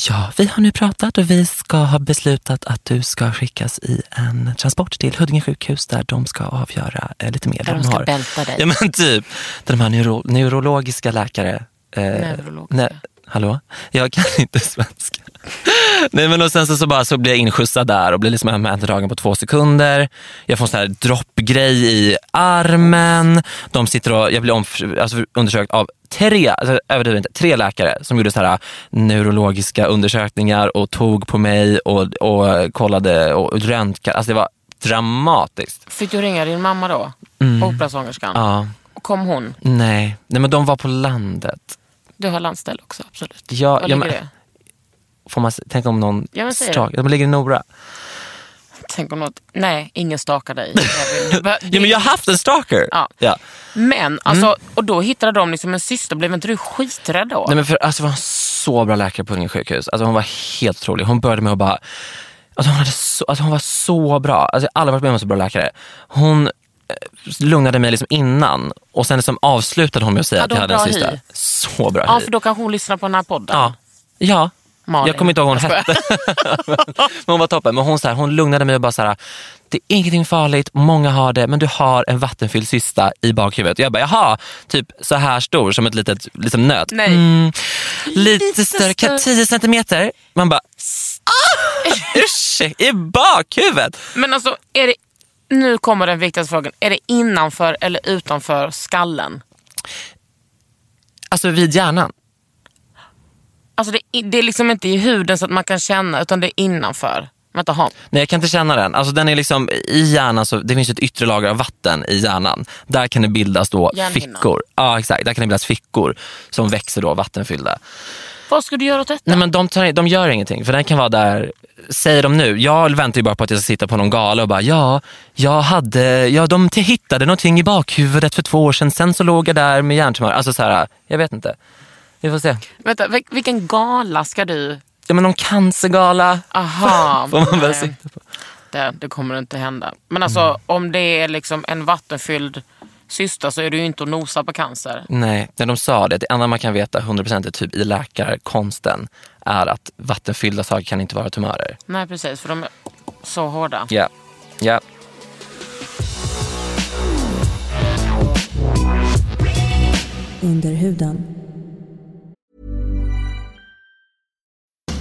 C: ja vi har nu pratat och vi ska ha beslutat att du ska skickas i en transport till Huddinge sjukhus där de ska avgöra eh, lite mer.
B: Där de ska bälta dig.
C: Ja men typ, där de här neuro, neurologiska läkare. eh,
B: Neurologiska.
C: nej, hallå? Jag kan inte svenska. Nej men och sen så, så, bara, så blir jag inskjutsad där och blir liksom omhändertagen på två sekunder. Jag får en sån här droppgrej i armen. De sitter och, jag blir omf- alltså, undersökt av tre, alltså, överdriver inte, tre läkare som gjorde så här äh, neurologiska undersökningar och tog på mig och, och kollade och röntgade. Alltså det var dramatiskt.
B: Fick du ringa din mamma då? Operasångerskan?
C: Mm. Ja,
B: Kom hon?
C: nej. nej, men de var på landet.
B: Du har landställe också, absolut.
C: Ja,
B: Var
C: ja,
B: ligger
C: men-
B: det?
C: Får man s- tänka om någon
B: Ja, men säg det.
C: stak- De ligger i Nora.
B: Tänk om något... Nej, ingen stakar
C: [laughs]
B: dig. Jag vill- Du bör-
C: Ja, men jag Mm. har haft en stalker.
B: Ja.
C: Ja.
B: Men, alltså, och då hittade de liksom en syster. Blev inte du skiträdd då?
C: Nej, men för, alltså, det var en så bra läkare på Huddinge sjukhus. Alltså, hon var helt otrolig. Hon började med att bara... Alltså, hon, hade så, alltså, hon var så bra. Alltså, jag har aldrig varit med om en så bra läkare. Hon eh, lugnade mig liksom innan och sen liksom avslutade hon med att säga
B: Hade
C: att jag
B: hon
C: hade en
B: bra
C: syster.
B: hy?
C: Så bra
B: ja,
C: hy.
B: för då kanske hon lyssnar på den här podden.
C: Ja. ja.
B: Malin.
C: Jag kommer inte ihåg vad hon hette. [laughs] men hon var toppen. Men hon, så här, hon lugnade mig och bara så här, det är ingenting farligt, många har det, men du har en vattenfylld cysta i bakhuvudet. Jag bara, jaha, typ så här stor som ett litet liksom, nöt.
B: Nej.
C: Mm, lite,
B: Lite
C: större, kan-
B: större.
C: 10 centimeter. Man bara, ah, ursäkta, i bakhuvudet.
B: Men alltså, är det, nu kommer den viktigaste frågan. Är det innanför eller utanför skallen?
C: Alltså vid hjärnan.
B: Alltså det, är- det är liksom inte i huden så att man kan känna, utan det är innanför. Vänta, ha.
C: Nej, jag kan inte känna den. Alltså, den är liksom, I hjärnan så, det finns ett yttre lager av vatten i hjärnan. Där kan det bildas då
B: Hjärnhinnan.
C: fickor. Ja, exakt. Där kan det bildas fickor som växer då vattenfyllda.
B: Vad ska du göra åt detta?
C: Nej, men de, tar, de gör ingenting, för den kan vara där. Säger de nu, jag väntar ju bara på att jag ska sitta på någon gala och bara ja, jag hade, ja de t- hittade någonting i bakhuvudet för två år sedan, sen så låg jag där med hjärntumör. Alltså så här, jag vet inte. Vi får se.
B: Vänta, vil- vilken gala ska du...
C: Ja men någon cancergala
B: Aha,
C: [laughs] får man väl
B: nej.
C: sikta på.
B: det, det kommer inte hända. Men alltså
C: Mm.
B: om det är liksom en vattenfylld syster så är du ju inte att nosa på cancer.
C: Nej, när de sa det, det enda man kan veta 100% är typ i läkarkonsten är att vattenfyllda saker kan inte vara tumörer.
B: Nej precis, för de är så hårda.
C: Ja. ja.
E: under huden.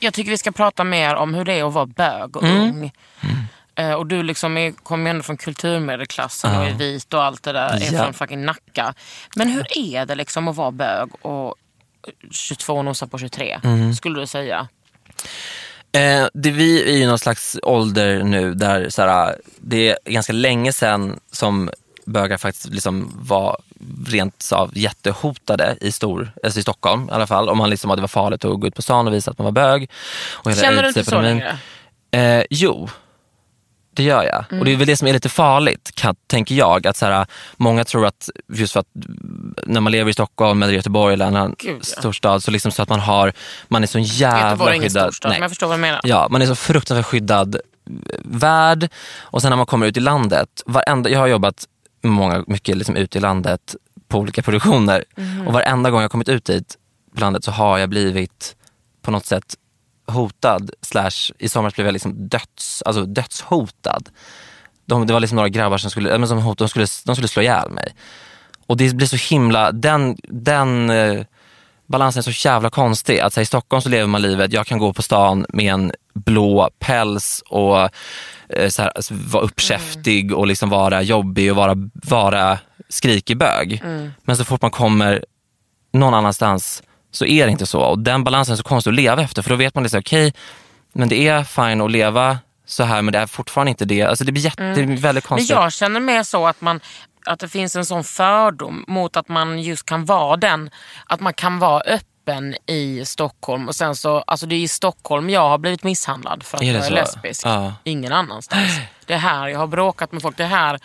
B: Jag tycker vi ska prata mer om hur det är att vara bög och
C: Mm.
B: ung. Eh, och du liksom är, kommer ju ändå från kulturmedelklassen och är vit och allt det där. Är
C: Ja.
B: från fucking Nacka. Men hur är det liksom att vara bög och 22 och nosa på 23?
C: Mm.
B: Skulle du säga.
C: Eh, det, vi är i någon slags ålder nu där så här, det är ganska länge sedan som bögar faktiskt liksom var rent av jättehotade i, stor, alltså i Stockholm i alla fall. Om man liksom, att det var farligt att gå ut på stan och visa att man var bög. Och hela
B: Känner du inte så
C: AIDS-epidemin.
B: längre?
C: Eh, jo, det gör jag. Och det är väl det som är lite farligt, kan, tänker jag. Att så här, många tror att just för att mm, när man lever i Stockholm eller Göteborg eller annan
B: Gud, ja.
C: storstad så, liksom så att man har, man är så
B: Göteborg
C: jävla
B: är ingen
C: skyddad.
B: storstad,
C: Nej.
B: men jag förstår vad du menar.
C: Ja, man är så fruktansvärt skyddad eh, värld och sen när man kommer ut i landet, varenda, jag har jobbat många, mycket liksom ute i landet på olika produktioner och varenda gång jag kommit ut dit på landet så har jag blivit på något sätt hotad, slash i somras blev jag liksom döds, alltså dödshotad. De, det var liksom några grabbar som skulle, ja, men som hot, de skulle, de skulle slå ihjäl mig. Och det blir så himla, den, den eh, balansen är så jävla konstig. Att så här, I Stockholm så lever man livet, jag kan gå på stan med en blå päls och eh, så här, alltså, vara uppkäftig
B: Mm.
C: och liksom vara jobbig och vara, vara skrikig bög.
B: Mm.
C: Men så fort man kommer någon annanstans så är det inte så. Och den balansen är så konstig att leva efter för då vet man liksom, okej, men det är fine att leva så här men det är fortfarande inte det. Alltså det blir jätte, det blir väldigt
B: Mm. Men
C: konstigt.
B: jag känner mer så att man att det finns en sån fördom mot att man just kan vara den. Att man kan vara öppen öppen i Stockholm. Och sen så, alltså det är i Stockholm jag har blivit misshandlad för att
C: Är det
B: jag är
C: så?
B: lesbisk.
C: Ja.
B: Ingen annanstans. Det är här jag har bråkat med folk. Det är här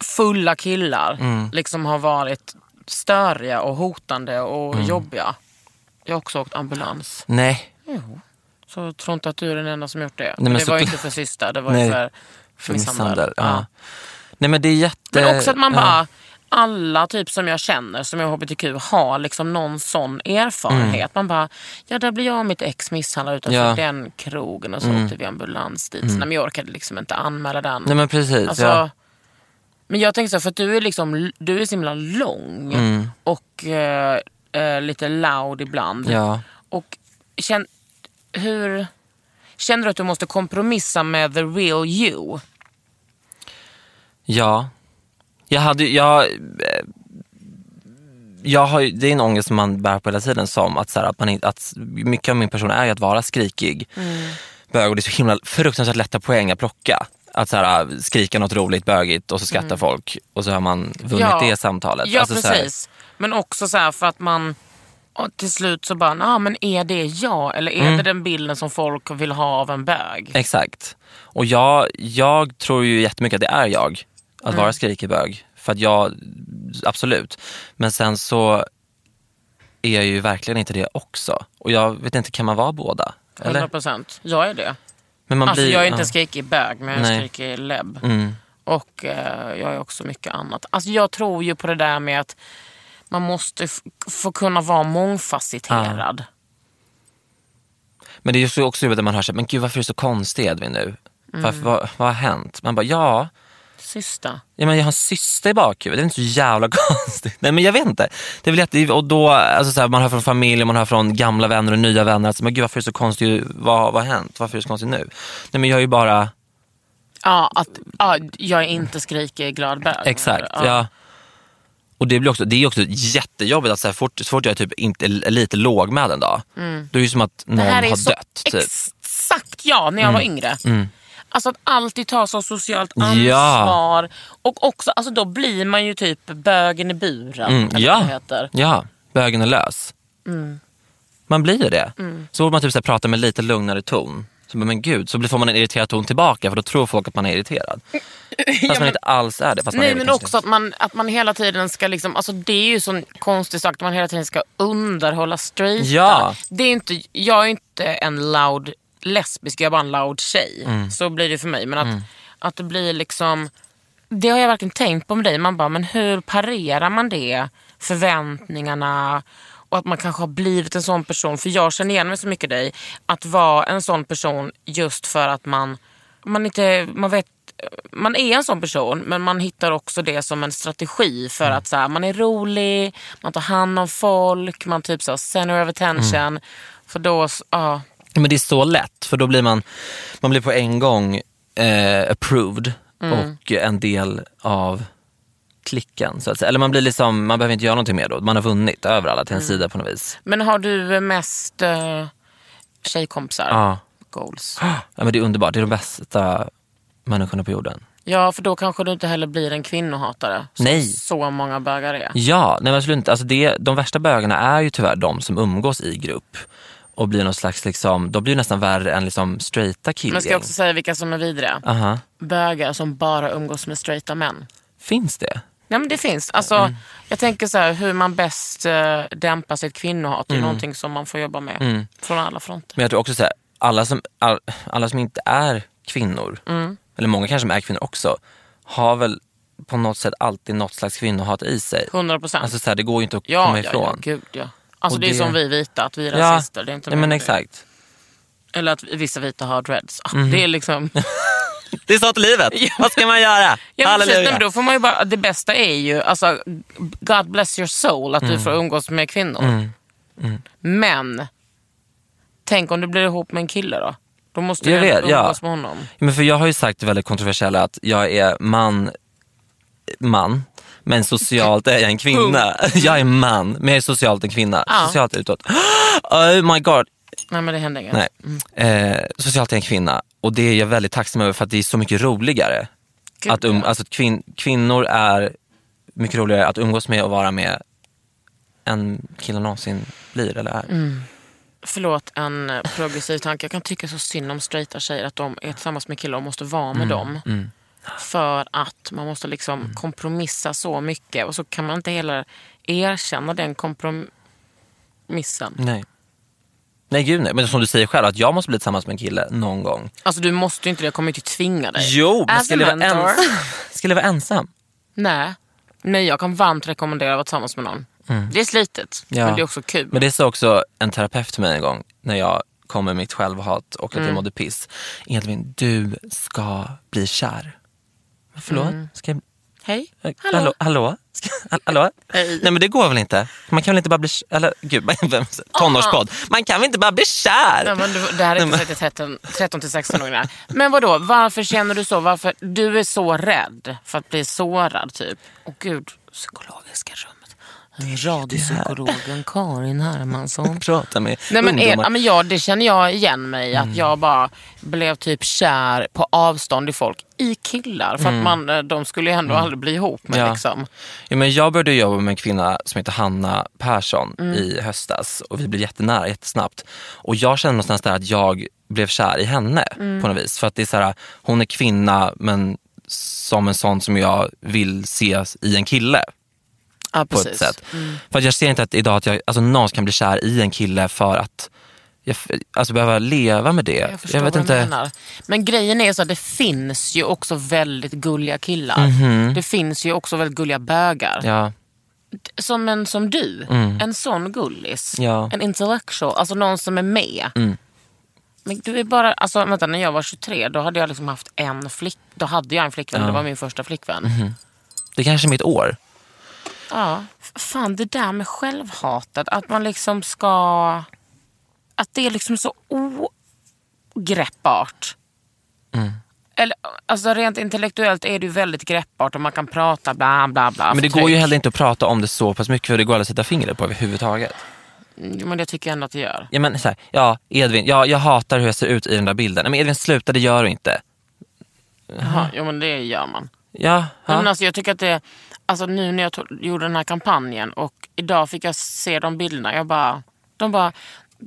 B: fulla killar
C: Mm.
B: liksom har varit störiga och hotande och
C: Mm.
B: jobbiga. Jag har också åkt ambulans.
C: Nej.
B: Så jag tror inte att du är den enda som gjort det.
C: men
B: men det var ju
C: såklart.
B: inte för sista, det var
C: Nej.
B: ju för,
C: För
B: för
C: misshandel.
B: misshandel.
C: Ja.
B: Ja.
C: Nej men det är jätte...
B: Men också att man
C: ja.
B: bara, alla typ som jag känner som är hbtq har liksom någon sån erfarenhet. Man bara, ja där blir jag och mitt ex misshandlade utanför
C: Mm. Ja. Mm.
B: den krogen och så åkte vi ambulans dit. Mm. Men jag orkade liksom inte anmäla den.
C: Nej men precis.
B: alltså,
C: ja.
B: Men jag tänker så, här, för att du är, liksom, du är så himla lång
C: Mm.
B: och eh, eh, lite loud ibland.
C: ja.
B: Och känn, hur, känner du att du måste kompromissa med the real you?
C: Ja. Jag hade ju- jag, eh, jag har ju, det är en ångest som man bär på hela tiden som att, så här, att, man, inte- att mycket av min person är ju att vara skrikig.
B: Mm.
C: Bög och det är så himla fruktansvärt lätta poäng att plocka. Att så här, ah, skrika något roligt bögigt och så skrattar folk och så har man vunnit
B: Mm. Ja.
C: det samtalet.
B: Ja,
C: Alltså, så här,
B: precis. Men också så här för att man och till slut så bara, ah, men är det jag eller
C: Mm.
B: är det den bilden som folk vill ha av en bög?
C: Exakt. Och jag, jag tror ju jättemycket att det är jag,
B: Mm.
C: att vara skrikig bög. För att jag, absolut. Men sen så är jag ju verkligen inte det också. Och jag vet inte, kan man vara båda? Eller?
B: 100%. Jag är det.
C: Men man
B: alltså
C: blir-
B: jag är inte
C: ja.
B: skrikig bög men jag
C: Nej. Mm.
B: är skrikig lebb. Och eh, jag är också mycket annat. Alltså jag tror ju på det där med att man måste f- få kunna vara mångfacetterad.
C: Ah. Men det är ju så också jobbigt när man hör så här, men gud varför är du så konstig Edvin nu?
B: Mm.
C: Varför, vad, vad har hänt? Man bara, ja,
B: Sista.
C: Ja, men jag har en syster i bakhuvudet, det är inte så jävla [laughs] konstigt. Nej men jag vet inte. Det är väl jätte, och då, alltså, så här, man hör från familj, man hör från gamla vänner och nya vänner, alltså, men gud varför är det så konstigt, vad, vad har hänt? Varför är det så konstigt nu? Nej men jag är ju bara,
B: Ja, att, ja, jag är inte skrikig glad bög.
C: exakt.
B: Ja.
C: Ja. Och det, blir också, det är också jättejobbigt att så, här, fort, så fort jag är typ inte, är lite lågmäld en dag, då är det ju som att någon
B: Mm. Det här är
C: har
B: så
C: dött. Typ. Mm.
B: exakt jag när jag var yngre. Alltså att alltid ta så socialt
C: Ja.
B: ansvar. Och också, alltså då blir man ju typ bögen i buren.
C: Mm,
B: eller vad
C: ja.
B: det heter. Mm.
C: ja, bögen är lös. Man blir ju det. Så borde man typ så här, prata med lite lugnare ton. Så, bara, men gud, så blir- får man en irriterad ton tillbaka för då tror folk att man är irriterad. Fast man inte alls är det. Fast man är
B: Nej
C: det
B: men
C: kanske.
B: också att man, att man hela tiden ska liksom, alltså det är ju sån konstig sak att man hela tiden ska underhålla straighta.
C: Ja.
B: Det är inte, jag är inte en loud lesbisk, jag är bara en loud tjej.
C: Mm.
B: Så blir det för mig. Men att, att det blir liksom, det har jag verkligen tänkt på med dig. Man bara, men hur parerar man det? Förväntningarna och att man kanske har blivit en sån person. För jag känner igen mig så mycket i dig. Att vara en sån person just för att man, man inte, man vet man är en sån person men man hittar också det som en strategi för
C: Mm.
B: att så här, man är rolig, man tar hand om folk, man typ så här, center of attention.
C: Mm.
B: För då, s- ja.
C: Men det är så lätt för då blir man, man blir på en gång eh, approved
B: Mm.
C: och en del av klicken. Så att säga. Eller man blir liksom, man behöver inte göra någonting mer då. Man har vunnit över alla till
B: Mm.
C: en sida på något vis.
B: Men har du eh, mest eh, tjejkompisar?
C: Ja.
B: Goals.
C: Ja, men det är underbart, det är de bästa människorna på jorden.
B: Ja, för då kanske du inte heller blir en kvinnohatare. Som
C: Nej.
B: så många bögar är.
C: Ja, nej, men absolut inte. Alltså det, de värsta bögarna är ju tyvärr de som umgås i grupp och blir någon slags, liksom, de blir ju nästan värre än liksom straighta
B: Men ska jag
C: killgäng.
B: också säga vilka som är vidriga?
C: Aha.
B: Bögar som bara umgås med straighta män.
C: Finns det?
B: Nej men det finns. Alltså,
C: Mm.
B: Jag tänker så här, hur man bäst eh, dämpar sitt kvinnohat
C: Mm.
B: är någonting som man får jobba med från alla fronter.
C: Men jag tror också så här, alla som, all, alla som inte är kvinnor,
B: Mm.
C: eller många kanske som är kvinnor också, har väl på något sätt alltid något slags kvinnohat i sig.
B: 100 procent.
C: Alltså så här, det går ju inte att
B: ja,
C: komma
B: ja, ja,
C: ifrån.
B: gud ja. Alltså
C: Och
B: det... är
C: det-
B: som vi vita, att vi är
C: Ja,
B: rasister. Det är inte
C: nej,
B: mer
C: men
B: med det.
C: exakt. Mhm.
B: Eller att vissa vita har dreads. Ah, Det är
C: [laughs]
B: liksom...
C: Det är så
B: [laughs]
C: till livet. Vad ska man göra?
B: Ja, men precis, Nej, men då får man ju bara, det bästa är ju, alltså, God bless your soul, att
C: Mm.
B: du får umgås med kvinnor. Men, tänk om du blir ihop med en kille då? Då måste
C: Jag
B: du
C: vet,
B: ändå
C: ja.
B: umgås med honom.
C: Men för jag har ju sagt det väldigt kontroversiella att jag är man, man, men socialt är jag en kvinna. Jag är man, men jag är socialt en kvinna.
B: Ja.
C: Socialt utåt. Oh my god.
B: Nej men det händer inget.
C: Nej. Eh, socialt är jag en kvinna och det är jag väldigt tacksam över för att det är så mycket roligare.
B: Gud,
C: att um,
B: ja.
C: alltså, att kvin, kvinnor är mycket roligare att umgås med och vara med en kille någonsin blir eller är.
B: Mm. Förlåt, en eh, progressiv tanke. Jag kan tycka så synd om straighta tjejer att de är tillsammans med killar och måste vara
C: Mm,
B: med dem. För att man måste liksom kompromissa så mycket och så kan man inte heller erkänna den kompromissen.
C: Nej. Nej gud nej, men som du säger själv att jag måste bli tillsammans med en kille någon gång.
B: Alltså du måste ju inte det, jag kommer ju inte tvinga dig.
C: Jo, men
B: As
C: ska jag
B: a
C: leva,
B: mentor.
C: ens... ska jag leva ensam?
B: Nej. Nej, jag kan varmt rekommendera att vara tillsammans med någon. Det är slitet,
C: Mm. Ja.
B: men det är också kul.
C: Men det sa också en terapeut till mig en gång när jag kom med mitt självhat och att
B: Mm.
C: jag mådde piss. Edvin, du ska bli kär. Men Förlåt? Ska jag...
B: Hej,
C: eh,
B: Mm. hallå.
C: Hallå? Hallå? Ska... [laughs] hall- hallå?
B: Hej.
C: Nej men det går väl inte? Man kan väl inte bara bli kär? Eller gud, [laughs] vem- tonårspodd. Man kan väl inte bara bli kär?
B: Nej, men du, det här är inte
C: Nej,
B: sagt till 13 13 till 16-åringar. Men vadå, varför känner du så? Varför, du är så rädd för att bli sårad typ. Åh gud, psykologiska rummet. Radiopsykologen Karin Hermansson.
C: Prata med
B: Nej, men, är,
C: ungdomar. Mm.
B: ja, men ja, det känner jag igen mig Att jag bara blev typ kär på avstånd i folk. I killar. För att man, eh, de skulle ju ändå aldrig bli ihop med
C: Mm. Ja.
B: liksom.
C: Ja, men jag började jobba med en kvinna som heter Hanna Persson
B: Mm.
C: i höstas och vi blev jättenära jättesnabbt. Och jag kände någonstans där att jag blev kär i henne
B: Mm.
C: på något vis. För att det är så här, hon är kvinna men som en sån som jag vill se i en kille
B: Ja,
C: på ett sätt.
B: Mm.
C: För att jag ser inte att idag att jag, alltså någon kan bli kär i en kille för att jag f- alltså behöva leva med det.
B: Jag förstår vad du menar. Men grejen är så att det finns ju också väldigt gulliga killar. Det finns ju också väldigt gulliga bögar.
C: Mhm. Ja, Mm.
B: Som en som du. En sån gullis.
C: Ja. Mm.
B: En intellectual. Alltså någon som är med. Men du är bara, alltså vänta när jag var 23 då hade jag liksom haft en flick, då hade jag en flickvän, det var min första flickvän.
C: det kanske är mitt år.
B: Ja. F- Fan det där med självhatet, att man liksom ska... Att det är liksom så ogreppbart.
C: Mm.
B: Eller, alltså rent intellektuellt är det ju väldigt greppbart och man kan prata bla bla bla. Alltså,
C: Men det
B: förtryck.
C: går ju heller inte att prata om det så pass mycket för det går aldrig att sätta fingret på överhuvudtaget.
B: Jo, Men det tycker jag ändå att det gör.
C: ja, men så här, ja Edvin, ja, jag hatar hur jag ser ut i den där bilden. Nej, Men Edvin sluta, det gör du inte.
B: Jaha, jo men det gör man.
C: Ja,
B: Nej,
C: ja.
B: Men alltså, jag tycker att det, alltså, nu när jag to- gjorde den här kampanjen och idag fick jag se de bilderna. Jag bara, de bara,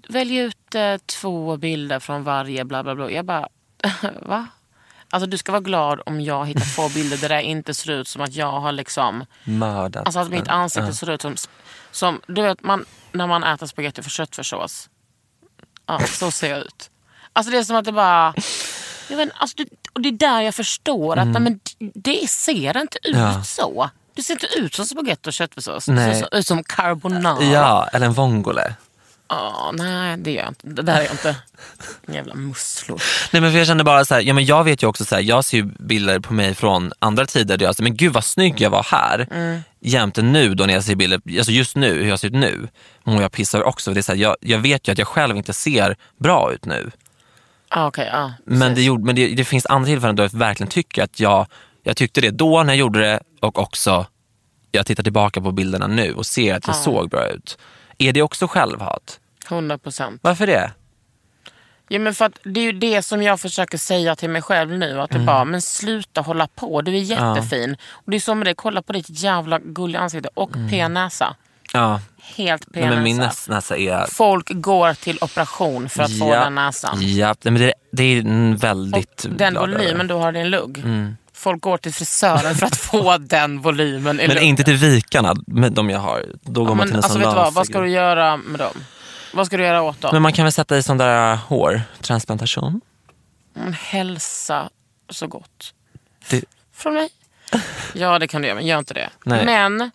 B: välj ut eh, två bilder från varje bla bla bla. Jag bara, [laughs] va? Alltså du ska vara glad om jag hittar två bilder där det inte ser ut som att jag har liksom,
C: mördat.
B: alltså att mitt
C: den.
B: ansikte ser ut som, som du vet man, när man äter spagetti för köttfärssås. Ja, så ser jag ut. Alltså det är som att det bara... Jag vet, inte, alltså det, och det är där jag förstår att nej, men det- det ser inte ut
C: Mm. Ja.
B: så. Du ser inte ut som spagetti och köttfärssås. Du
C: Nej.
B: ser så- ut som carbonara.
C: Ja, eller en vongole.
B: Ja, nej, det gör jag inte. Det där är jag
C: [laughs]
B: inte. Jävla musslor.
C: Nej, men för jag känner bara så här, ja, men jag vet ju också så här, jag ser ju bilder på mig från andra tider där jag säger, men gud vad snygg jag var här.
B: Mm.
C: Jämte nu då när jag ser bilder, alltså just nu, hur jag ser ut nu, mår jag pissar också. Det är så här, jag, jag vet ju att jag själv inte ser bra ut nu.
B: Ah, okay, ja.
C: Men, det, gjorde, men det, det finns andra tillfällen då jag verkligen tycker att jag, jag tyckte det då när jag gjorde det och också jag tittar tillbaka på bilderna nu och ser att jag såg bra ut. Är det också självhat?
B: 100 procent.
C: Varför det?
B: Ja, men för att det är ju det som jag försöker säga till mig själv nu. Att det
C: Mm.
B: bara, men sluta hålla på. Du är jättefin. Och det är som med dig, kolla på ditt jävla gulliga ansikte och p-näsa.
C: Ja,
B: Helt
C: Mm. nej,
B: p-näsa.
C: men min näs- näsa är...
B: Folk går till operation för att få den näsan.
C: Ja, nej, men det, det är en väldigt...
B: Och den
C: glad över.
B: volymen du har i din lugg.
C: Mm.
B: Folk går till frisören för att få den volymen i
C: Men
B: luggen.
C: inte till vikarna, men de jag har. Då går
B: Ja,
C: man till
B: men,
C: en
B: alltså,
C: sån
B: vet du vad,
C: laser-
B: vad ska du göra med dem? Vad ska du göra åt dem?
C: Men man kan väl sätta i sån där äh, hårtransplantation?
B: Mm, hälsa så gott.
C: Det-
B: Från mig? Ja, det kan du göra, men gör inte det.
C: Nej.
B: Men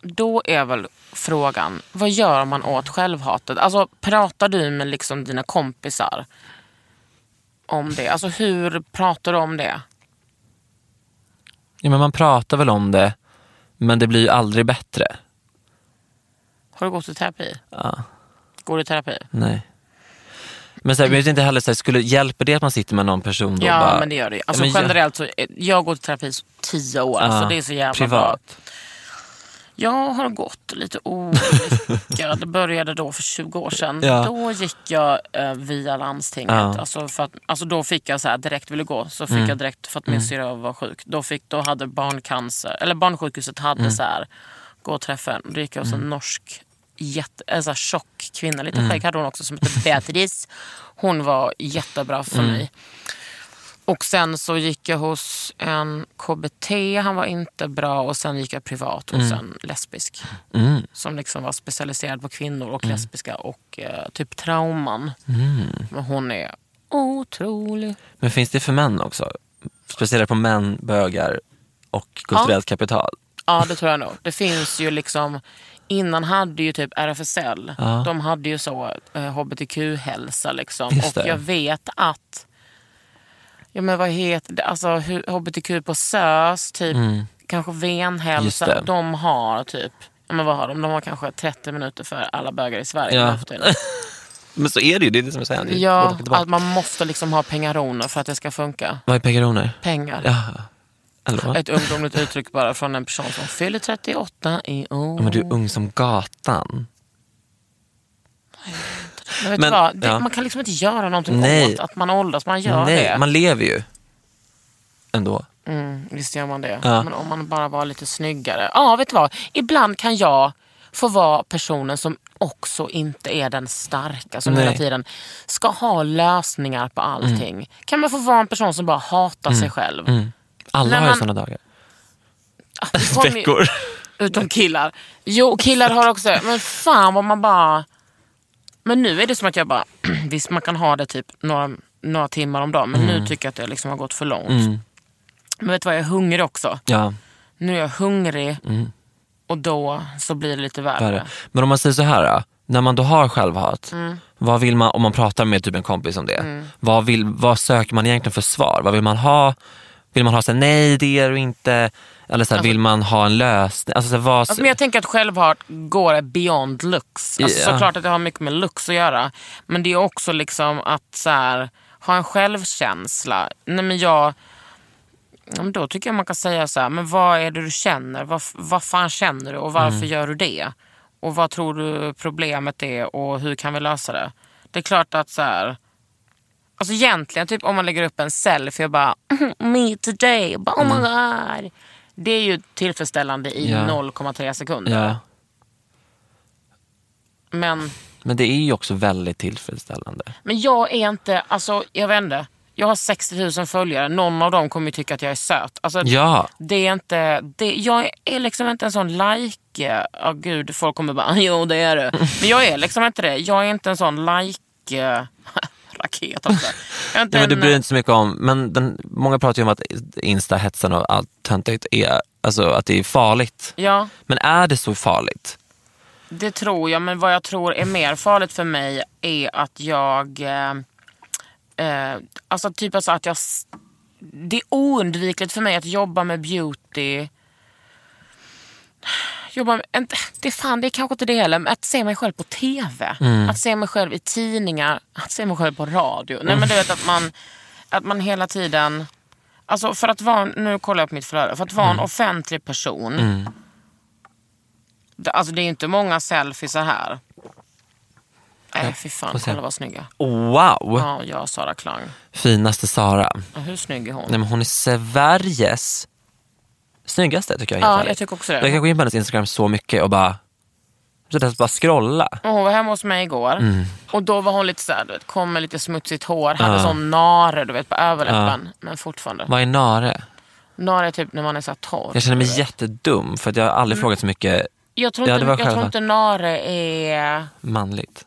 B: då är väl frågan, vad gör man åt självhatet? Alltså, pratar du med liksom dina kompisar om det? Alltså, hur pratar du om det?
C: Ja, men man pratar väl om det, men det blir ju aldrig bättre.
B: Har du gått i terapi?
C: Ja.
B: Går du i terapi?
C: Nej. Men så här, men jag vet inte heller, så här, skulle, hjälper det att man sitter med någon person då?
B: Ja,
C: bara,
B: men det gör det ju. Alltså,
C: Ja, men jag-
B: generellt så, jag går i terapi i tio år,
C: Ja,
B: så det är så jävla bra.
C: privat.
B: Jag har gått lite
C: [laughs]
B: olika. Det började då för 20 år sedan.
C: Ja.
B: Då gick jag eh, via landstinget.
C: Ja.
B: Alltså för att, alltså då fick jag så här, direkt ville gå, så fick jag direkt för att min syrra var sjuk. Då, fick, då hade barncancer, eller barnsjukhuset hade så här gå och träffa henne. Då gick jag hos en norsk jätte, en sån här tjock kvinna. Lite skägg hade hon också som hette Beatrice. Hon var jättebra för mig. Och sen så gick jag hos en KBT, han var inte bra. Och sen gick jag privat hos en lesbisk. Som liksom var specialiserad på kvinnor och lesbiska och eh, typ trauman. Men hon är otrolig.
C: Men finns det för män också? Speciellt på män, bögar och kulturellt kapital.
B: Ja, det tror jag nog. Det finns ju liksom... Innan hade ju typ RFSL, de hade ju så eh, hbtq-hälsa. Liksom.
C: Just
B: Och
C: det.
B: jag vet att, ja men vad heter det, alltså hu- hbtq på SÖS, typ kanske
C: Mm. Just
B: venhälsa,
C: det.
B: de har typ, ja men vad har de? De har kanske 30 minuter för alla bögar i Sverige
C: Ja.
B: nu för tiden.
C: Men så är det ju, det är det som är så här. [laughs] Det är
B: Ja,
C: tillbaka, tillbaka.
B: att man måste liksom ha pengaroner för att det ska funka.
C: Vad är pegaroner?
B: Pengar.
C: Ja. Eller vad?
B: Ett ungdomligt uttryck bara från en person som fyller 38 i år.
C: Ja, Men du är ung som gatan.
B: Men vet
C: Men-
B: du vad? Det,
C: ja.
B: Man kan liksom inte göra någonting
C: Nej.
B: åt att man åldras. Man gör
C: Nej,
B: det.
C: man lever ju. Ändå.
B: Mm, visst gör man det.
C: Ja.
B: Men om man bara var lite snyggare. Ja, vet du vad? Ibland kan jag få vara personen som också inte är den starka. Som
C: Nej. Mm.
B: hela tiden ska ha lösningar på allting. Kan man få vara en person som bara hatar sig själv?
C: Mm. Alla
B: Nej,
C: har ju
B: men-
C: sådana dagar.
B: Ah, det kom ju-
C: [laughs] Veckor.
B: Utom killar. Jo, killar har också det. Men fan vad man bara... Men nu är det som att jag bara, [clears throat] visst man kan ha det typ några, några timmar om dagen, men nu tycker jag att det liksom har gått för långt. Men vet du vad, jag är hungrig också.
C: Ja,
B: Nu är jag hungrig och då så blir det lite värre.
C: värre. Men om man säger så här, då, när man då har självhat,
B: Mm.
C: vad vill man, om man pratar med typ en kompis om det, vad, vill, vad söker man egentligen för svar? Vad vill man ha? Vill man ha så här, nej det är du inte, eller så här, vill man ha en lösning? Alltså, så här, vad,
B: Alltså, men jag tänker att självhat går beyond looks. Alltså,
C: Ja.
B: Såklart att det har mycket med looks att göra. Men det är också liksom att så här, ha en självkänsla. Nej, men jag, ja, men då tycker jag man kan säga så här, men vad är det du känner? Vad, vad fan känner du och varför
C: Mm.
B: gör du det? Och vad tror du problemet är och hur kan vi lösa det? Det är klart att så här, Alltså egentligen, typ om man lägger upp en selfie och bara [laughs] me today, bara, oh my god. Det är ju tillfredsställande i
C: Mm. Ja.
B: 0,3 sekunder.
C: ja.
B: Men,
C: Men det är ju också väldigt tillfredsställande.
B: men jag är inte, alltså jag vet inte. Jag har 60 000 följare, någon av dem kommer ju tycka att jag är söt. Alltså,
C: Ja,
B: det är inte, det, jag är liksom inte en sån like, ja gud folk kommer bara [laughs] jo det är du. Men jag är liksom inte det. Jag är inte en sån like, [laughs] raket alltså. Jag är inte
C: ja men du
B: en-
C: bryr dig inte så mycket om, men den, många pratar ju om att insta-hetsen och allt töntigt är, alltså att det är farligt.
B: Ja.
C: Men är det så farligt?
B: Det tror jag, men vad jag tror är mer farligt för mig är att jag... Eh, eh, alltså typ alltså att jag... s- Det är oundvikligt för mig att jobba med beauty. Jobba med, en- det, är fan, det är kanske inte det heller, men att se mig själv på TV. Att se mig själv i tidningar, att se mig själv på radio. Nej, men du vet att man, att man hela tiden... Alltså för att vara, nu kollar jag på mitt flöde, för att vara en offentlig person det- Alltså det är ju inte många selfies här. Nej fy fan,
C: se.
B: kolla vad snygga.
C: Wow!
B: Ja, jag och Sara Klang.
C: Finaste Sara.
B: Ja, Hur snygg är hon?
C: Nej, men hon är Sveriges snyggaste tycker jag. helt
B: Ja,
C: ärligt.
B: jag tycker också det.
C: Jag kan gå in på hennes Instagram så mycket och bara, så där, bara scrolla.
B: Och Hon var hemma hos mig igår
C: Mm.
B: och då var hon lite såhär, du vet, kom med lite smutsigt hår, hade sån nare du vet på överläppen. Men fortfarande.
C: Vad är nare?
B: Nare är typ när man är såhär torr.
C: Jag känner mig
B: du vet.
C: jättedum för att jag har aldrig
B: Mm.
C: frågat så mycket
B: jag tror
C: Ja,
B: inte,
C: det
B: jag
C: var
B: tror
C: själva.
B: inte nare är... [laughs]
C: manligt.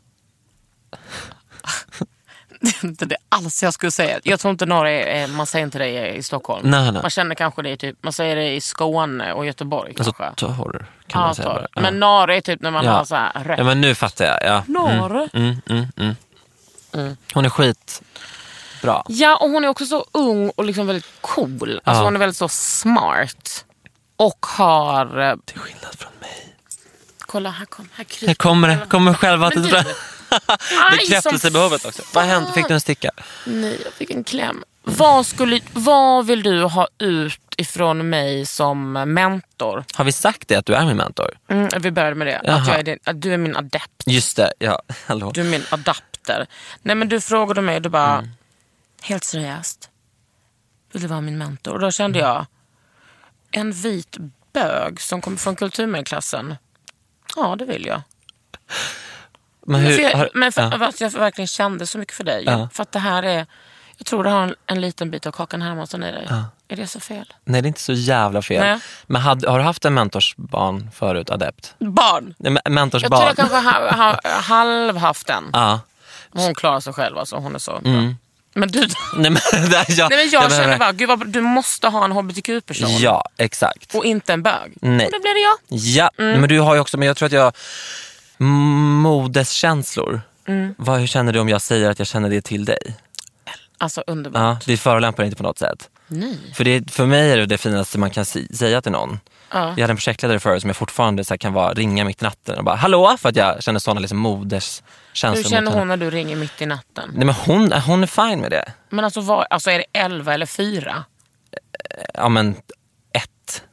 B: Det är inte det alls jag skulle säga. Jag tror inte nare är, man säger inte det i Stockholm.
C: Nej, nej.
B: Man känner kanske det i typ, man säger det i Skåne och Göteborg
C: Alltså
B: kanske.
C: torr kan
B: Ja,
C: man säga.
B: torr.
C: bara. Ja.
B: Men nare är typ när man
C: Ja.
B: har så här rött.
C: ja, Mm. men nu fattar jag. Ja.
B: Nare?
C: Hon är skitbra.
B: Ja, och hon är också så ung och liksom väldigt cool. Alltså
C: Ja.
B: Hon är väldigt så smart. Och har... eh,
C: Till skillnad från mig.
B: Kolla, här, kom, här kryper
C: Här kommer det, kommer själva
B: Men
C: till [laughs]
B: du-
C: fram. Bekräftelsebehovet också. Vad hände? Fick du en sticka?
B: Nej, jag fick en kläm. Vad, skulle, vad vill du ha ut ifrån mig som mentor?
C: Har vi sagt det att du är min mentor?
B: Mm, vi började med det. Att,
C: Jaha.
B: jag är din, att du är min adept.
C: Just det, ja. Hallå.
B: Du är min adapter. Nej men du frågade mig, du bara,
C: Mm.
B: helt
C: Mm.
B: seriöst, vill du vara min mentor? Och då kände jag, en vit bög som kommer från kulturmedelklassen? Ja, det vill jag.
C: Men
B: Men,
C: hur,
B: för
C: har,
B: jag, men för,
C: ja.
B: att jag verkligen kände så mycket för dig.
C: Ja.
B: För att det här är, jag tror du har en, en liten bit av Kakan Hermansson i dig. Är det så fel?
C: Nej, det är inte så jävla fel.
B: Nej.
C: Men had, har du haft en mentorsbarn förut, adept?
B: Barn!
C: Nej, men-
B: Jag tror
C: Mentorsbarn?
B: jag kanske har ha,
C: [laughs]
B: halv haft den.
C: Ja. Mm.
B: Hon klarar sig själv alltså, hon är så bra. Men du,
C: Nej, men, [laughs] där, jag,
B: nej, men jag,
C: behöver-
B: känner bara, gud vad, bra, du måste ha en hbtq-person
C: Ja, exakt.
B: och inte en bög.
C: Nej.
B: Och då blir det jag.
C: Ja,
B: Mm.
C: men du har ju också, men jag tror att jag, modeskänslor.
B: Mm.
C: Vad, hur känner du om jag säger att jag känner det till dig?
B: Alltså underbart.
C: Ja, det förolämpar inte på något sätt.
B: Nej.
C: För, det, för mig är det det finaste man kan si, säga till någon.
B: Ja.
C: Jag hade en projektledare förut som jag fortfarande så här, kan vara, ringa mitt i natten och bara hallå, för att jag känner sådana liksom, moderskänslor.
B: Hur känner
C: alltså, mot
B: hon
C: henne.
B: när du ringer mitt i natten?
C: Nej, men hon, äh, hon är fine med det.
B: Men alltså, vad, alltså är det 11 eller 4?
C: Ja men ett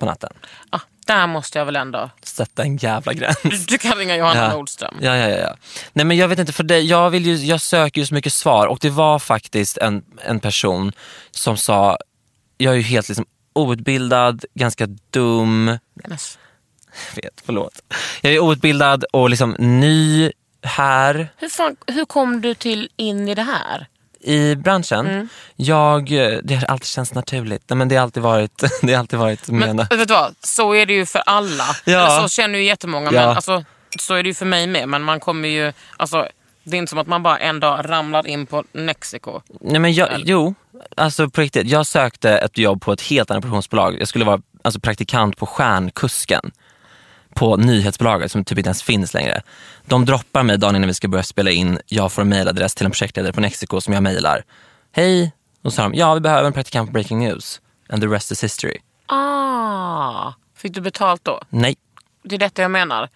C: på natten.
B: Ah, där måste jag väl ändå...
C: Sätta en
B: [laughs]
C: jävla gräns.
B: Du, du kan ringa Johanna
C: Ja.
B: Nordström.
C: Ja, ja, ja, ja. Nej, men jag vet inte, för dig, jag, vill ju, jag söker ju så mycket svar och det var faktiskt en, en person som sa, jag är ju helt liksom outbildad, ganska dum,
B: Men- alltså,
C: jag vet, förlåt. Jag är outbildad och liksom ny här
B: Hur, fan, hur kom du till in i det här?
C: i branschen.
B: Mm.
C: Jag, det har alltid känts naturligt. Nej, men det har alltid varit, [laughs] det har alltid varit
B: Men,
C: mena.
B: vet du vad? Så är det ju för alla.
C: Ja.
B: Eller så känner ju jättemånga. Men,
C: Ja.
B: alltså, så är det ju för mig med. Men man kommer ju... Alltså, det är inte som att man bara en dag ramlar in på Mexiko.
C: Nej, men jag, jo, alltså på riktigt. Jag sökte ett jobb på ett helt annat produktionsbolag. Jag skulle vara alltså, praktikant på Stjärnkusken på nyhetsbolaget som typ inte ens finns längre. De droppar mig dagen innan vi ska börja spela in. Jag får en mejladress till en projektledare på Mexiko som jag mejlar. Hej, och så sa de, ja vi behöver en praktikant på Breaking News. And the rest is history.
B: Ah, fick du betalt då?
C: Nej,
B: Det är detta jag menar.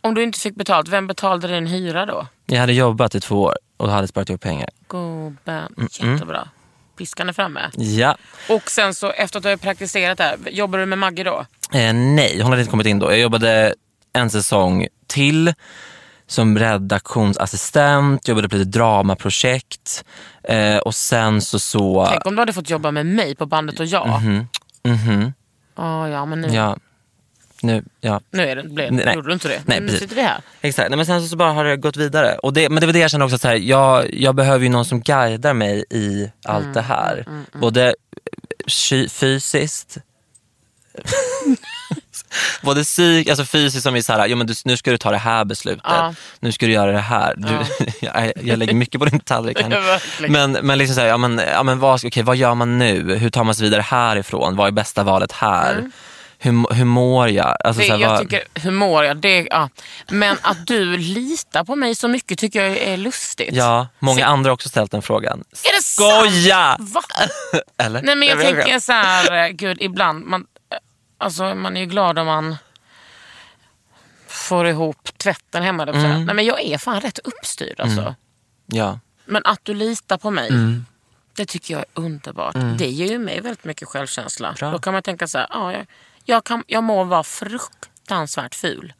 B: Om du inte fick betalt, vem betalade din hyra då?
C: jag hade jobbat i två år och hade sparat ihop pengar.
B: Gubben.
C: Mm,
B: Jättebra. Piskan är framme.
C: Ja.
B: Och sen så efter att du har praktiserat där, jobbar du med Maggie då?
C: Eh, nej, hon hade inte kommit in då. Jag jobbade en säsong till som redaktionsassistent, jobbade på lite dramaprojekt eh, och sen så... så
B: Tänk om du hade fått jobba med mig på bandet och jag.
C: Mhm.
B: Ah, ja, men nu,
C: ja, nu, ja.
B: nu är det, blev,
C: Nej, nej.
B: gjorde du inte det.
C: Nej,
B: nu
C: precis.
B: sitter vi här.
C: Exakt, nej, men sen så, så bara har det gått vidare. Och det, men det var det jag kände också, att så här, jag, jag behöver ju någon som guidar mig i allt
B: Mm,
C: det här. Både sy- fysiskt, [laughs] både psyk, alltså fysiskt som är så här, jo, men du, nu ska du ta det här beslutet,
B: Ja.
C: nu ska du göra det här. Du, [laughs] jag, jag lägger mycket på din tallrik
B: [laughs]
C: här
B: Ja,
C: nu.
B: verkligen.
C: Men, men liksom så här, ja, men, ja, men vad, okay, vad gör man nu? Hur tar man sig vidare härifrån? Vad är bästa valet här? Hur, hur mår jag? Alltså,
B: Det,
C: så här,
B: Mm. jag
C: vad-
B: tycker, hur mår jag? Det, ja. Men att du litar på mig så mycket tycker jag är lustigt.
C: Ja, många
B: Se-
C: andra har också ställt den frågan.
B: Är det
C: Skoja!
B: Va?
C: Eller?
B: Nej men jag
C: vet
B: tänker
C: inte.
B: så här, eh, gud ibland, man, eh, alltså, man är ju glad om man får ihop tvätten hemma. Där, mm. Nej men jag är fan rätt uppstyrd alltså.
C: Mm. Ja.
B: Men att du litar på mig,
C: Mm.
B: det tycker jag är underbart. Det ger ju mig väldigt mycket självkänsla.
C: Bra.
B: Då kan man tänka så här, ja, jag, jag, kan, jag må vara fruktansvärt
C: [laughs]
B: ful,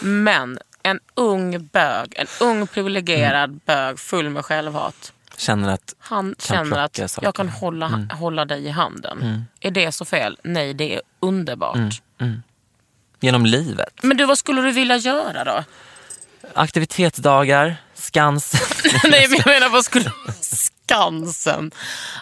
B: men en ung bög, en ung privilegierad
C: Mm.
B: bög full med självhat.
C: Känner att,
B: Han
C: plocka
B: känner att
C: saker. Mm.
B: jag kan hålla, hålla dig i handen. Är det så fel? Nej, det är underbart.
C: Mm. genom livet.
B: Men du, vad skulle du vilja göra
C: [laughs]
B: då?
C: Aktivitetsdagar,
B: [laughs]
C: Skansen.
B: Nej, men jag menar vad skulle Skansen.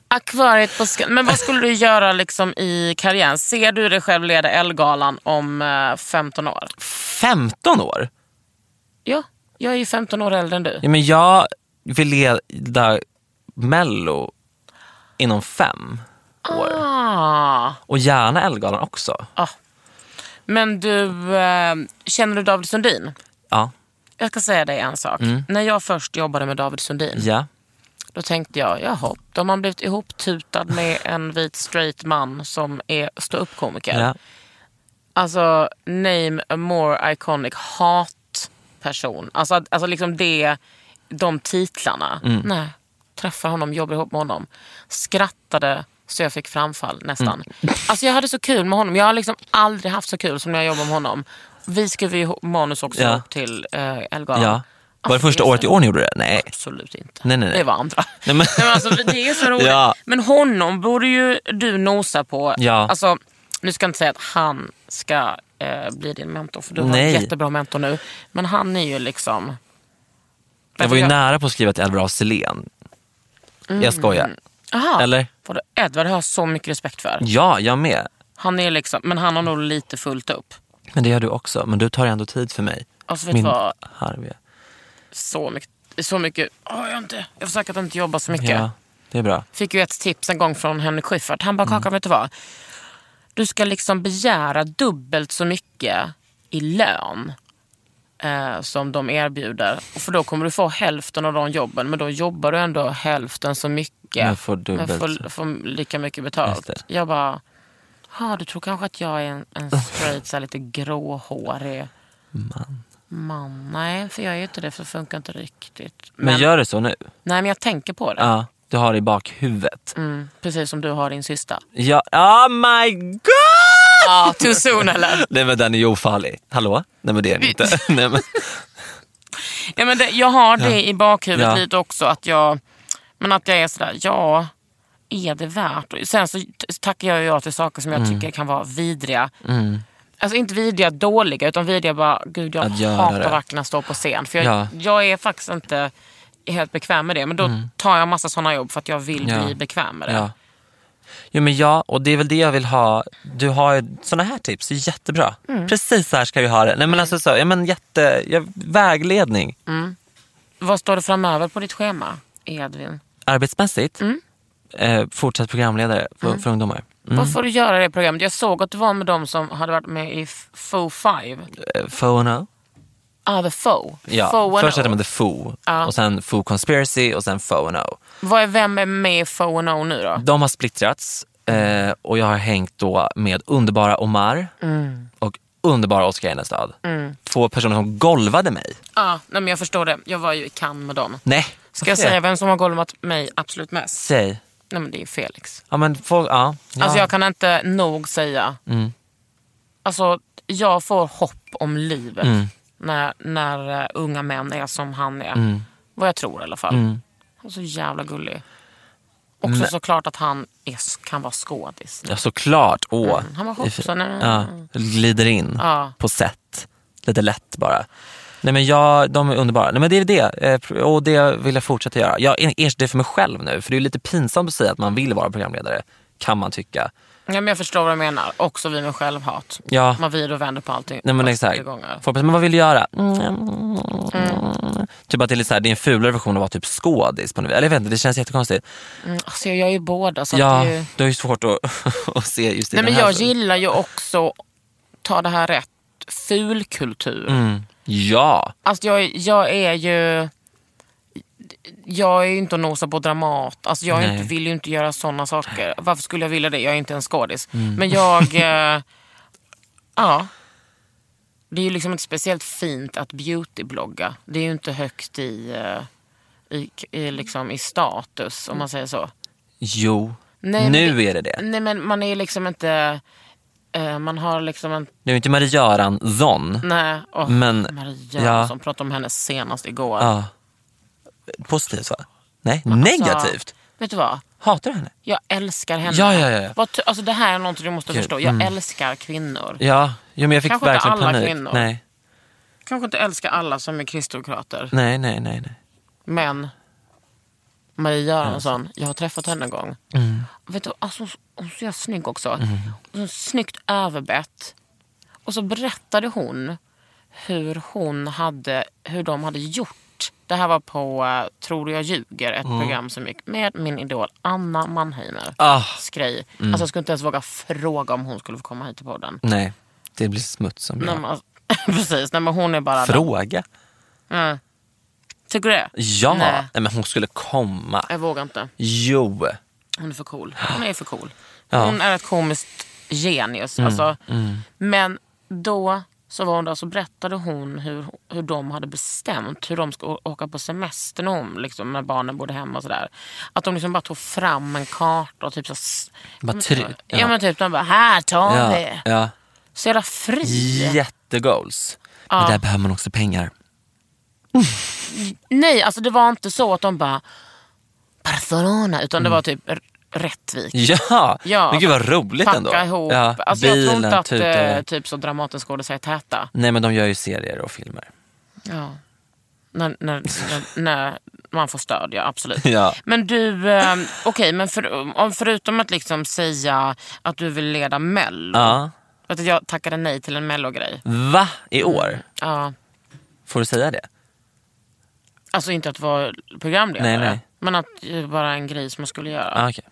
B: Akvariet på Skansen. Men vad skulle du göra liksom i karriären? Ser du dig själv leda Ellegalan om eh, 15 år?
C: 15 år?
B: Ja, jag är ju 15 år äldre än du.
C: Ja, men jag vill leda Mello inom fem år.
B: Ah,
C: Och gärna Ellegalan också.
B: men du, eh, känner du David Sundin?
C: Ja.
B: Jag ska säga dig en sak.
C: Mm.
B: När jag först jobbade med David Sundin,
C: ja.
B: då tänkte jag, jaha, de har blivit ihoptutad med en vit straight man som är ståuppkomiker.
C: ja.
B: Alltså, name a more iconic hatperson. Alltså, att- alltså liksom det, de titlarna.
C: Mm.
B: Nej, träffar honom, jobbar ihop med honom. Skrattade så jag fick framfall nästan.
C: Mm.
B: Alltså jag hade så kul med honom. Jag har liksom aldrig haft så kul som när jag jobbade med honom. Vi skrev ju ihop manus också
C: Ja.
B: till eh, Ellegalan.
C: ja. Var det
B: Alltså,
C: första
B: är
C: året
B: så-
C: i år ni gjorde det? Nej.
B: Absolut inte.
C: Nej, nej, nej.
B: Det var andra.
C: Nej, men-
B: [laughs] Nej, men... alltså, det är så roligt.
C: [laughs] Ja.
B: Men honom borde ju du nosa på.
C: Ja.
B: Alltså, Nu ska jag inte säga att han ska eh, bli din mentor, för du har
C: Nej.
B: en jättebra mentor nu. Men han är ju liksom...
C: Jag var ju
B: Jag- Mm.
C: nära på att skriva till Edward af Sillén. Jag skojar.
B: Aha,
C: Eller?
B: Vadå, Edvard har jag så mycket respekt för.
C: Ja, jag med.
B: Han är liksom, men han har nog lite fullt upp.
C: Men det gör du också. Men du tar ändå tid för mig.
B: Alltså vet du
C: Min
B: vad?
C: harvie.
B: Så mycket. Så mycket. Åh, jag, har inte, jag har försökt att inte jobba så mycket.
C: Ja, det är bra.
B: Fick ju ett tips en gång från Henrik Schyffert. Han bara,
C: Mm.
B: Kakan vet du vad? Du ska liksom begära dubbelt så mycket i lön eh, som de erbjuder. För då kommer du få hälften av de jobben. Men då jobbar du ändå hälften så mycket.
C: Men får dubbelt så.
B: får, får lika mycket
C: Just
B: betalt.
C: det.
B: Jag bara, ha, du tror kanske att jag är en, en straight, så här lite gråhårig man. Man, nej, för jag är ju inte det. För det funkar inte riktigt.
C: Men, gör det så nu.
B: Nej, men jag tänker på det.
C: Ja, du har det i bakhuvudet.
B: Mm, precis som du har din syster.
C: Ja, oh my god!
B: Ja, too soon eller?
C: Nej men den är ju ofarlig. Hallå? Nej men det är den inte. [laughs] Nej, men,
B: Ja, men det, jag har det i bakhuvudet
C: Ja.
B: lite också. Att jag, men att jag är sådär, ja, är det värt det? Sen så t- tackar jag ju ja till saker som jag
C: Mm.
B: tycker kan vara vidriga. Alltså inte vidriga dåliga, utan vidriga bara, gud jag
C: Att göra
B: hatar
C: det.
B: verkligen att stå på scen. För jag,
C: Ja.
B: jag är faktiskt inte helt bekväm med det. Men då tar jag massa sådana jobb för att jag vill
C: Mm. Ja.
B: bli bekväm med det.
C: ja. Jo men ja, och det är väl det jag vill ha. Du har ju såna här tips, det är jättebra.
B: Mm.
C: Precis så här ska vi ha det. Nej men alltså så, ja, men jätte, ja, vägledning.
B: Mm. Vad står det framöver på ditt schema, Edvin?
C: Arbetsmässigt,
B: Mm.
C: eh, fortsatt programledare för, för ungdomar.
B: Vad får du göra i det programmet? Jag såg att du var med de som hade varit med i F- Foo Five.
C: Eh, Faux no.
B: Ah, The Foe.
C: Ja,
B: Foe and
C: först
B: O.
C: hette man The Foo
B: Ja.
C: och sen Foo Conspiracy och sen Faux No.
B: Vad är, vem är med i Foe and O nu då?
C: De har splittrats eh, och jag har hängt då med underbara Omar
B: Mm.
C: och underbara Oskar Enestad. Två personer som golvade mig.
B: Ah, nej, men jag förstår det. Jag var ju i Cannes med dem.
C: Nej.
B: Ska jag
C: varför det?
B: säga vem som har golvat mig absolut mest?
C: Säg.
B: Nej, men det är Felix.
C: Ja, men folk, ja. ja. Mm.
B: Alltså jag kan inte nog säga. Alltså jag får hopp om livet
C: Mm.
B: när, när eh, unga män är som han är.
C: Mm.
B: Vad jag tror i alla fall. Han är så jävla gullig. Också såklart att han är, kan vara skådis.
C: ja, såklart. Åh.
B: Mm, Han var hoppsan.
C: Ja, glider in
B: Ja.
C: på set. Lite lätt bara. Nej men jag, de är underbara. Nej men det är det. Eh, Och det vill jag fortsätta göra. Jag erkänner det för mig själv nu. För det är ju lite pinsamt att säga att man vill vara programledare. Kan man tycka.
B: Ja, men jag förstår vad du menar. Också vi med självhat.
C: Ja.
B: Man vrider och vänder på allting.
C: Nej men
B: fast
C: exakt.
B: det gånger.
C: Folk bara, men vad vill du göra?
B: Mm.
C: Typ att det är, lite så här, det är en fulare version av att vara typ skådis. På något vis. Eller jag vet inte, det känns jättekonstigt.
B: Alltså, jag gör ju båda. Så
C: ja,
B: att det är ju...
C: det är ju svårt att, [laughs] att se just i
B: Nej,
C: den
B: men
C: här.
B: jag gillar ju också, ta det här rätt, fulkultur.
C: Mm. Ja,
B: Alltså, jag, jag är ju... Jag är ju inte och nosar på Dramat. Alltså, jag är
C: Nej.
B: inte, vill ju inte göra sådana saker. Varför skulle jag vilja det? Jag är inte en skådis.
C: Mm.
B: Men
C: [laughs]
B: jag... eh, ja. Det är ju liksom inte speciellt fint att beautyblogga. Det är ju inte högt i, eh, i, i, liksom, i status, om man säger så.
C: jo.
B: Nej,
C: nu
B: men det-
C: är det det.
B: Nej men man är liksom inte... eh, man har liksom en...
C: Nu är inte Marie Göransson
B: Nej, åh,
C: Men-
B: Maria
C: ja.
B: som pratade om henne senast igår.
C: ja. positivt va? Nej, negativt.
B: Alltså, vet du vad?
C: Hatar du henne?
B: Jag älskar henne.
C: Ja, ja, ja, ja.
B: Vad ty- alltså, det här är någonting du måste
C: Gud,
B: förstå. Jag
C: mm.
B: älskar kvinnor.
C: Ja, jo, men jag fick
B: Kanske inte
C: verkligen
B: alla
C: panik.
B: kvinnor.
C: Nej,
B: Kanske inte älskar alla som är kristdemokrater.
C: nej, nej, nej. nej.
B: Men Maria Göransson, jag har träffat henne en gång.
C: Mm.
B: Vet du, alltså, hon- hon är så jävla snygg också. Hon är snyggt överbett. Och så berättade hon hur, hon hade, hur de hade gjort. Det här var på eh, Tror du jag ljuger, ett
C: Mm.
B: program som gick med min idol Anna Mannheimer.
C: Ah.
B: Skrej. Alltså, jag skulle inte ens våga fråga om hon skulle få komma hit till podden.
C: Nej, det blir smuts som
B: Nej,
C: jag.
B: men, alltså, [laughs] precis, nej, men hon är bara...
C: Fråga?
B: Mm. Tycker du det?
C: Ja,
B: Nej.
C: nej. men hon skulle komma.
B: Jag vågar inte.
C: Jo.
B: Hon är för cool. Hon är för cool.
C: Ja. Mm,
B: Hon är ett komiskt genius. Alltså. Men då så var hon där så berättade hon hur, hur de hade bestämt hur de ska å- åka på semestern om liksom, när barnen bodde hemma och sådär. Att de liksom bara tog fram en karta och typ så... s-
C: Bara try-
B: ja.
C: ja.
B: men typ de bara, här tar vi.
C: Ja, ja.
B: Så jävla fri.
C: Jättegoals. Men där behöver man också pengar. [laughs] Mm.
B: Nej, alltså det var inte så att de bara Barcelona, utan det var typ r- Rättvik.
C: Ja,
B: Ja,
C: men gud vad roligt
B: Packa
C: ändå.
B: ihop.
C: Ja,
B: alltså, jag tror inte att
C: tuta.
B: eh, typ så Dramatenskådisar är täta.
C: Nej men de gör ju serier och filmer.
B: Ja. När, när, när, när man får stöd, ja absolut.
C: Ja.
B: Men du, eh, okej, men för, om- förutom att liksom säga att du vill leda Mello.
C: Ja.
B: Vet du, jag tackade nej till en Mello-grej.
C: Va? I år?
B: Ja.
C: Får du säga det?
B: Alltså inte att vara programledare.
C: Nej, nej.
B: Men att eh, bara en grej som man skulle göra.
C: Ah, okej.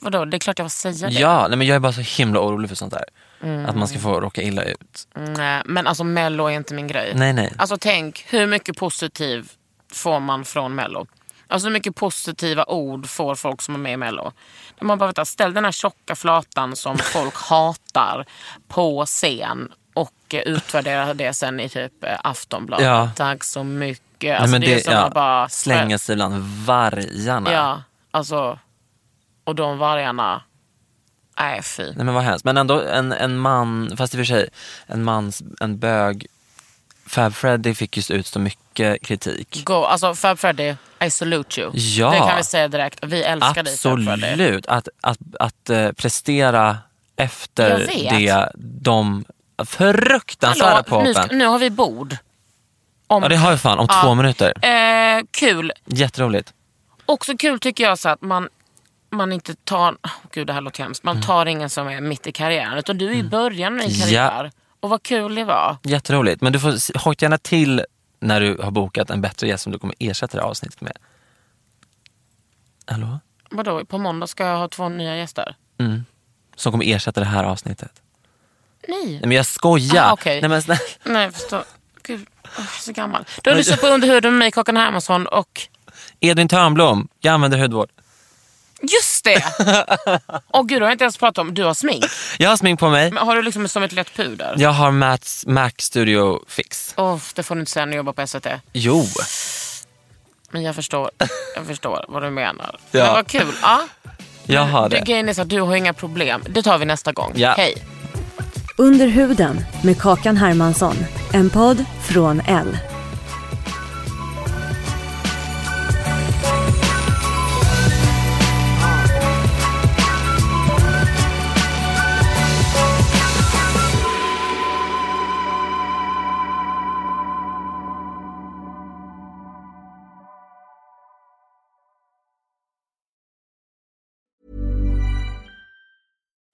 B: Vadå, det är klart jag får säga det.
C: Ja, nej, men jag är bara så himla orolig för sånt där.
B: Mm.
C: Att man ska få råka illa ut.
B: Nej, men alltså mello är inte min grej.
C: Nej, nej.
B: Alltså tänk, hur mycket positiv får man från mello? Alltså hur mycket positiva ord får folk som är med i mello? Där Man bara, vänta, ställ den här tjocka flatan som
C: [laughs]
B: folk hatar på scen och eh, utvärdera det sen i typ eh, Aftonbladet.
C: Ja.
B: Tack så mycket.
C: nej,
B: Alltså,
C: men
B: det, är som
C: ja,
B: att bara
C: slänga sig bland vargarna.
B: Ja, alltså. Och de vargarna. Nej, fy.
C: Nej, men vad hemskt. Men ändå en, en man, fast i och för sig, en mans, en bög. Fab Freddy fick just ut så mycket kritik.
B: Go. Alltså Fab Freddy, I salute you.
C: Ja.
B: Det kan vi säga direkt. Vi älskar dig Fab Freddy.
C: Absolut. Att, att, att eh, prestera
B: Jag
C: efter
B: vet.
C: det de fruktansvärda
B: nu,
C: popen.
B: ska- nu har vi bord. Om,
C: Ja, det har vi fan om
B: Ja.
C: två minuter.
B: eh, kul.
C: Jätteroligt.
B: Också kul tycker jag så att man, man inte tar, oh, gud det här låter hemskt, man tar ingen som är mitt i karriären. Utan du är i början av din
C: Mm. Ja.
B: karriär. Och vad kul det var.
C: Jätteroligt. Men du får s- hojta gärna till när du har bokat en bättre gäst som du kommer ersätta det här avsnittet med. Hallå?
B: Vadå, på måndag ska jag ha två nya gäster?
C: Som kommer ersätta det här avsnittet.
B: Nej.
C: Nej men jag skojar.
B: Ah, okej.
C: Nej men snälla.
B: Nej, jag förstår. Gud, åh, jag är så gammal. Du har lyssnat på Under huden med mig, Kakan Hermansson och...
C: [laughs] Edvin Törnblom, jag använder hudvård.
B: Just
C: [laughs]
B: det! Åh gud, det har jag inte ens pratat om. Du har smink.
C: Jag har smink på mig.
B: Men har du liksom som ett lätt puder?
C: Jag har Mats Mac Studio Fix.
B: Åh, det får du inte säga när du jobbar på SVT.
C: Jo.
B: Men jag förstår, jag förstår vad du menar.
C: Ja.
B: Men vad kul. Ja.
C: Jag har
B: Du,
C: det.
B: grejen är så att du har inga problem. Det tar vi nästa gång.
C: Ja.
B: Hej.
E: Under huden med Kakan Hermansson. En podd från L.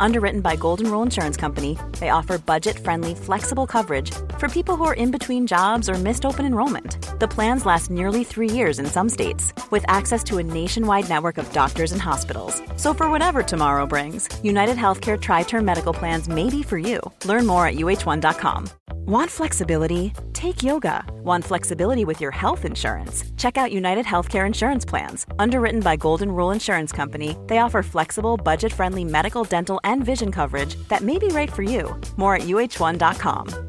A: Underwritten by Golden Rule Insurance Company, they offer budget friendly, flexible coverage for people who are in between jobs or missed open enrollment. The plans last nearly three years in some states, with access to a nationwide network of doctors and hospitals. So, for whatever tomorrow brings, United Healthcare Tri Term Medical Plans may be for you. Learn more at uh1.com. Want flexibility? Take yoga. Want flexibility with your health insurance? Check out United Healthcare Insurance Plans. Underwritten by Golden Rule Insurance Company, they offer flexible, budget friendly medical, dental, and vision coverage that may be right for you. More at uh1.com.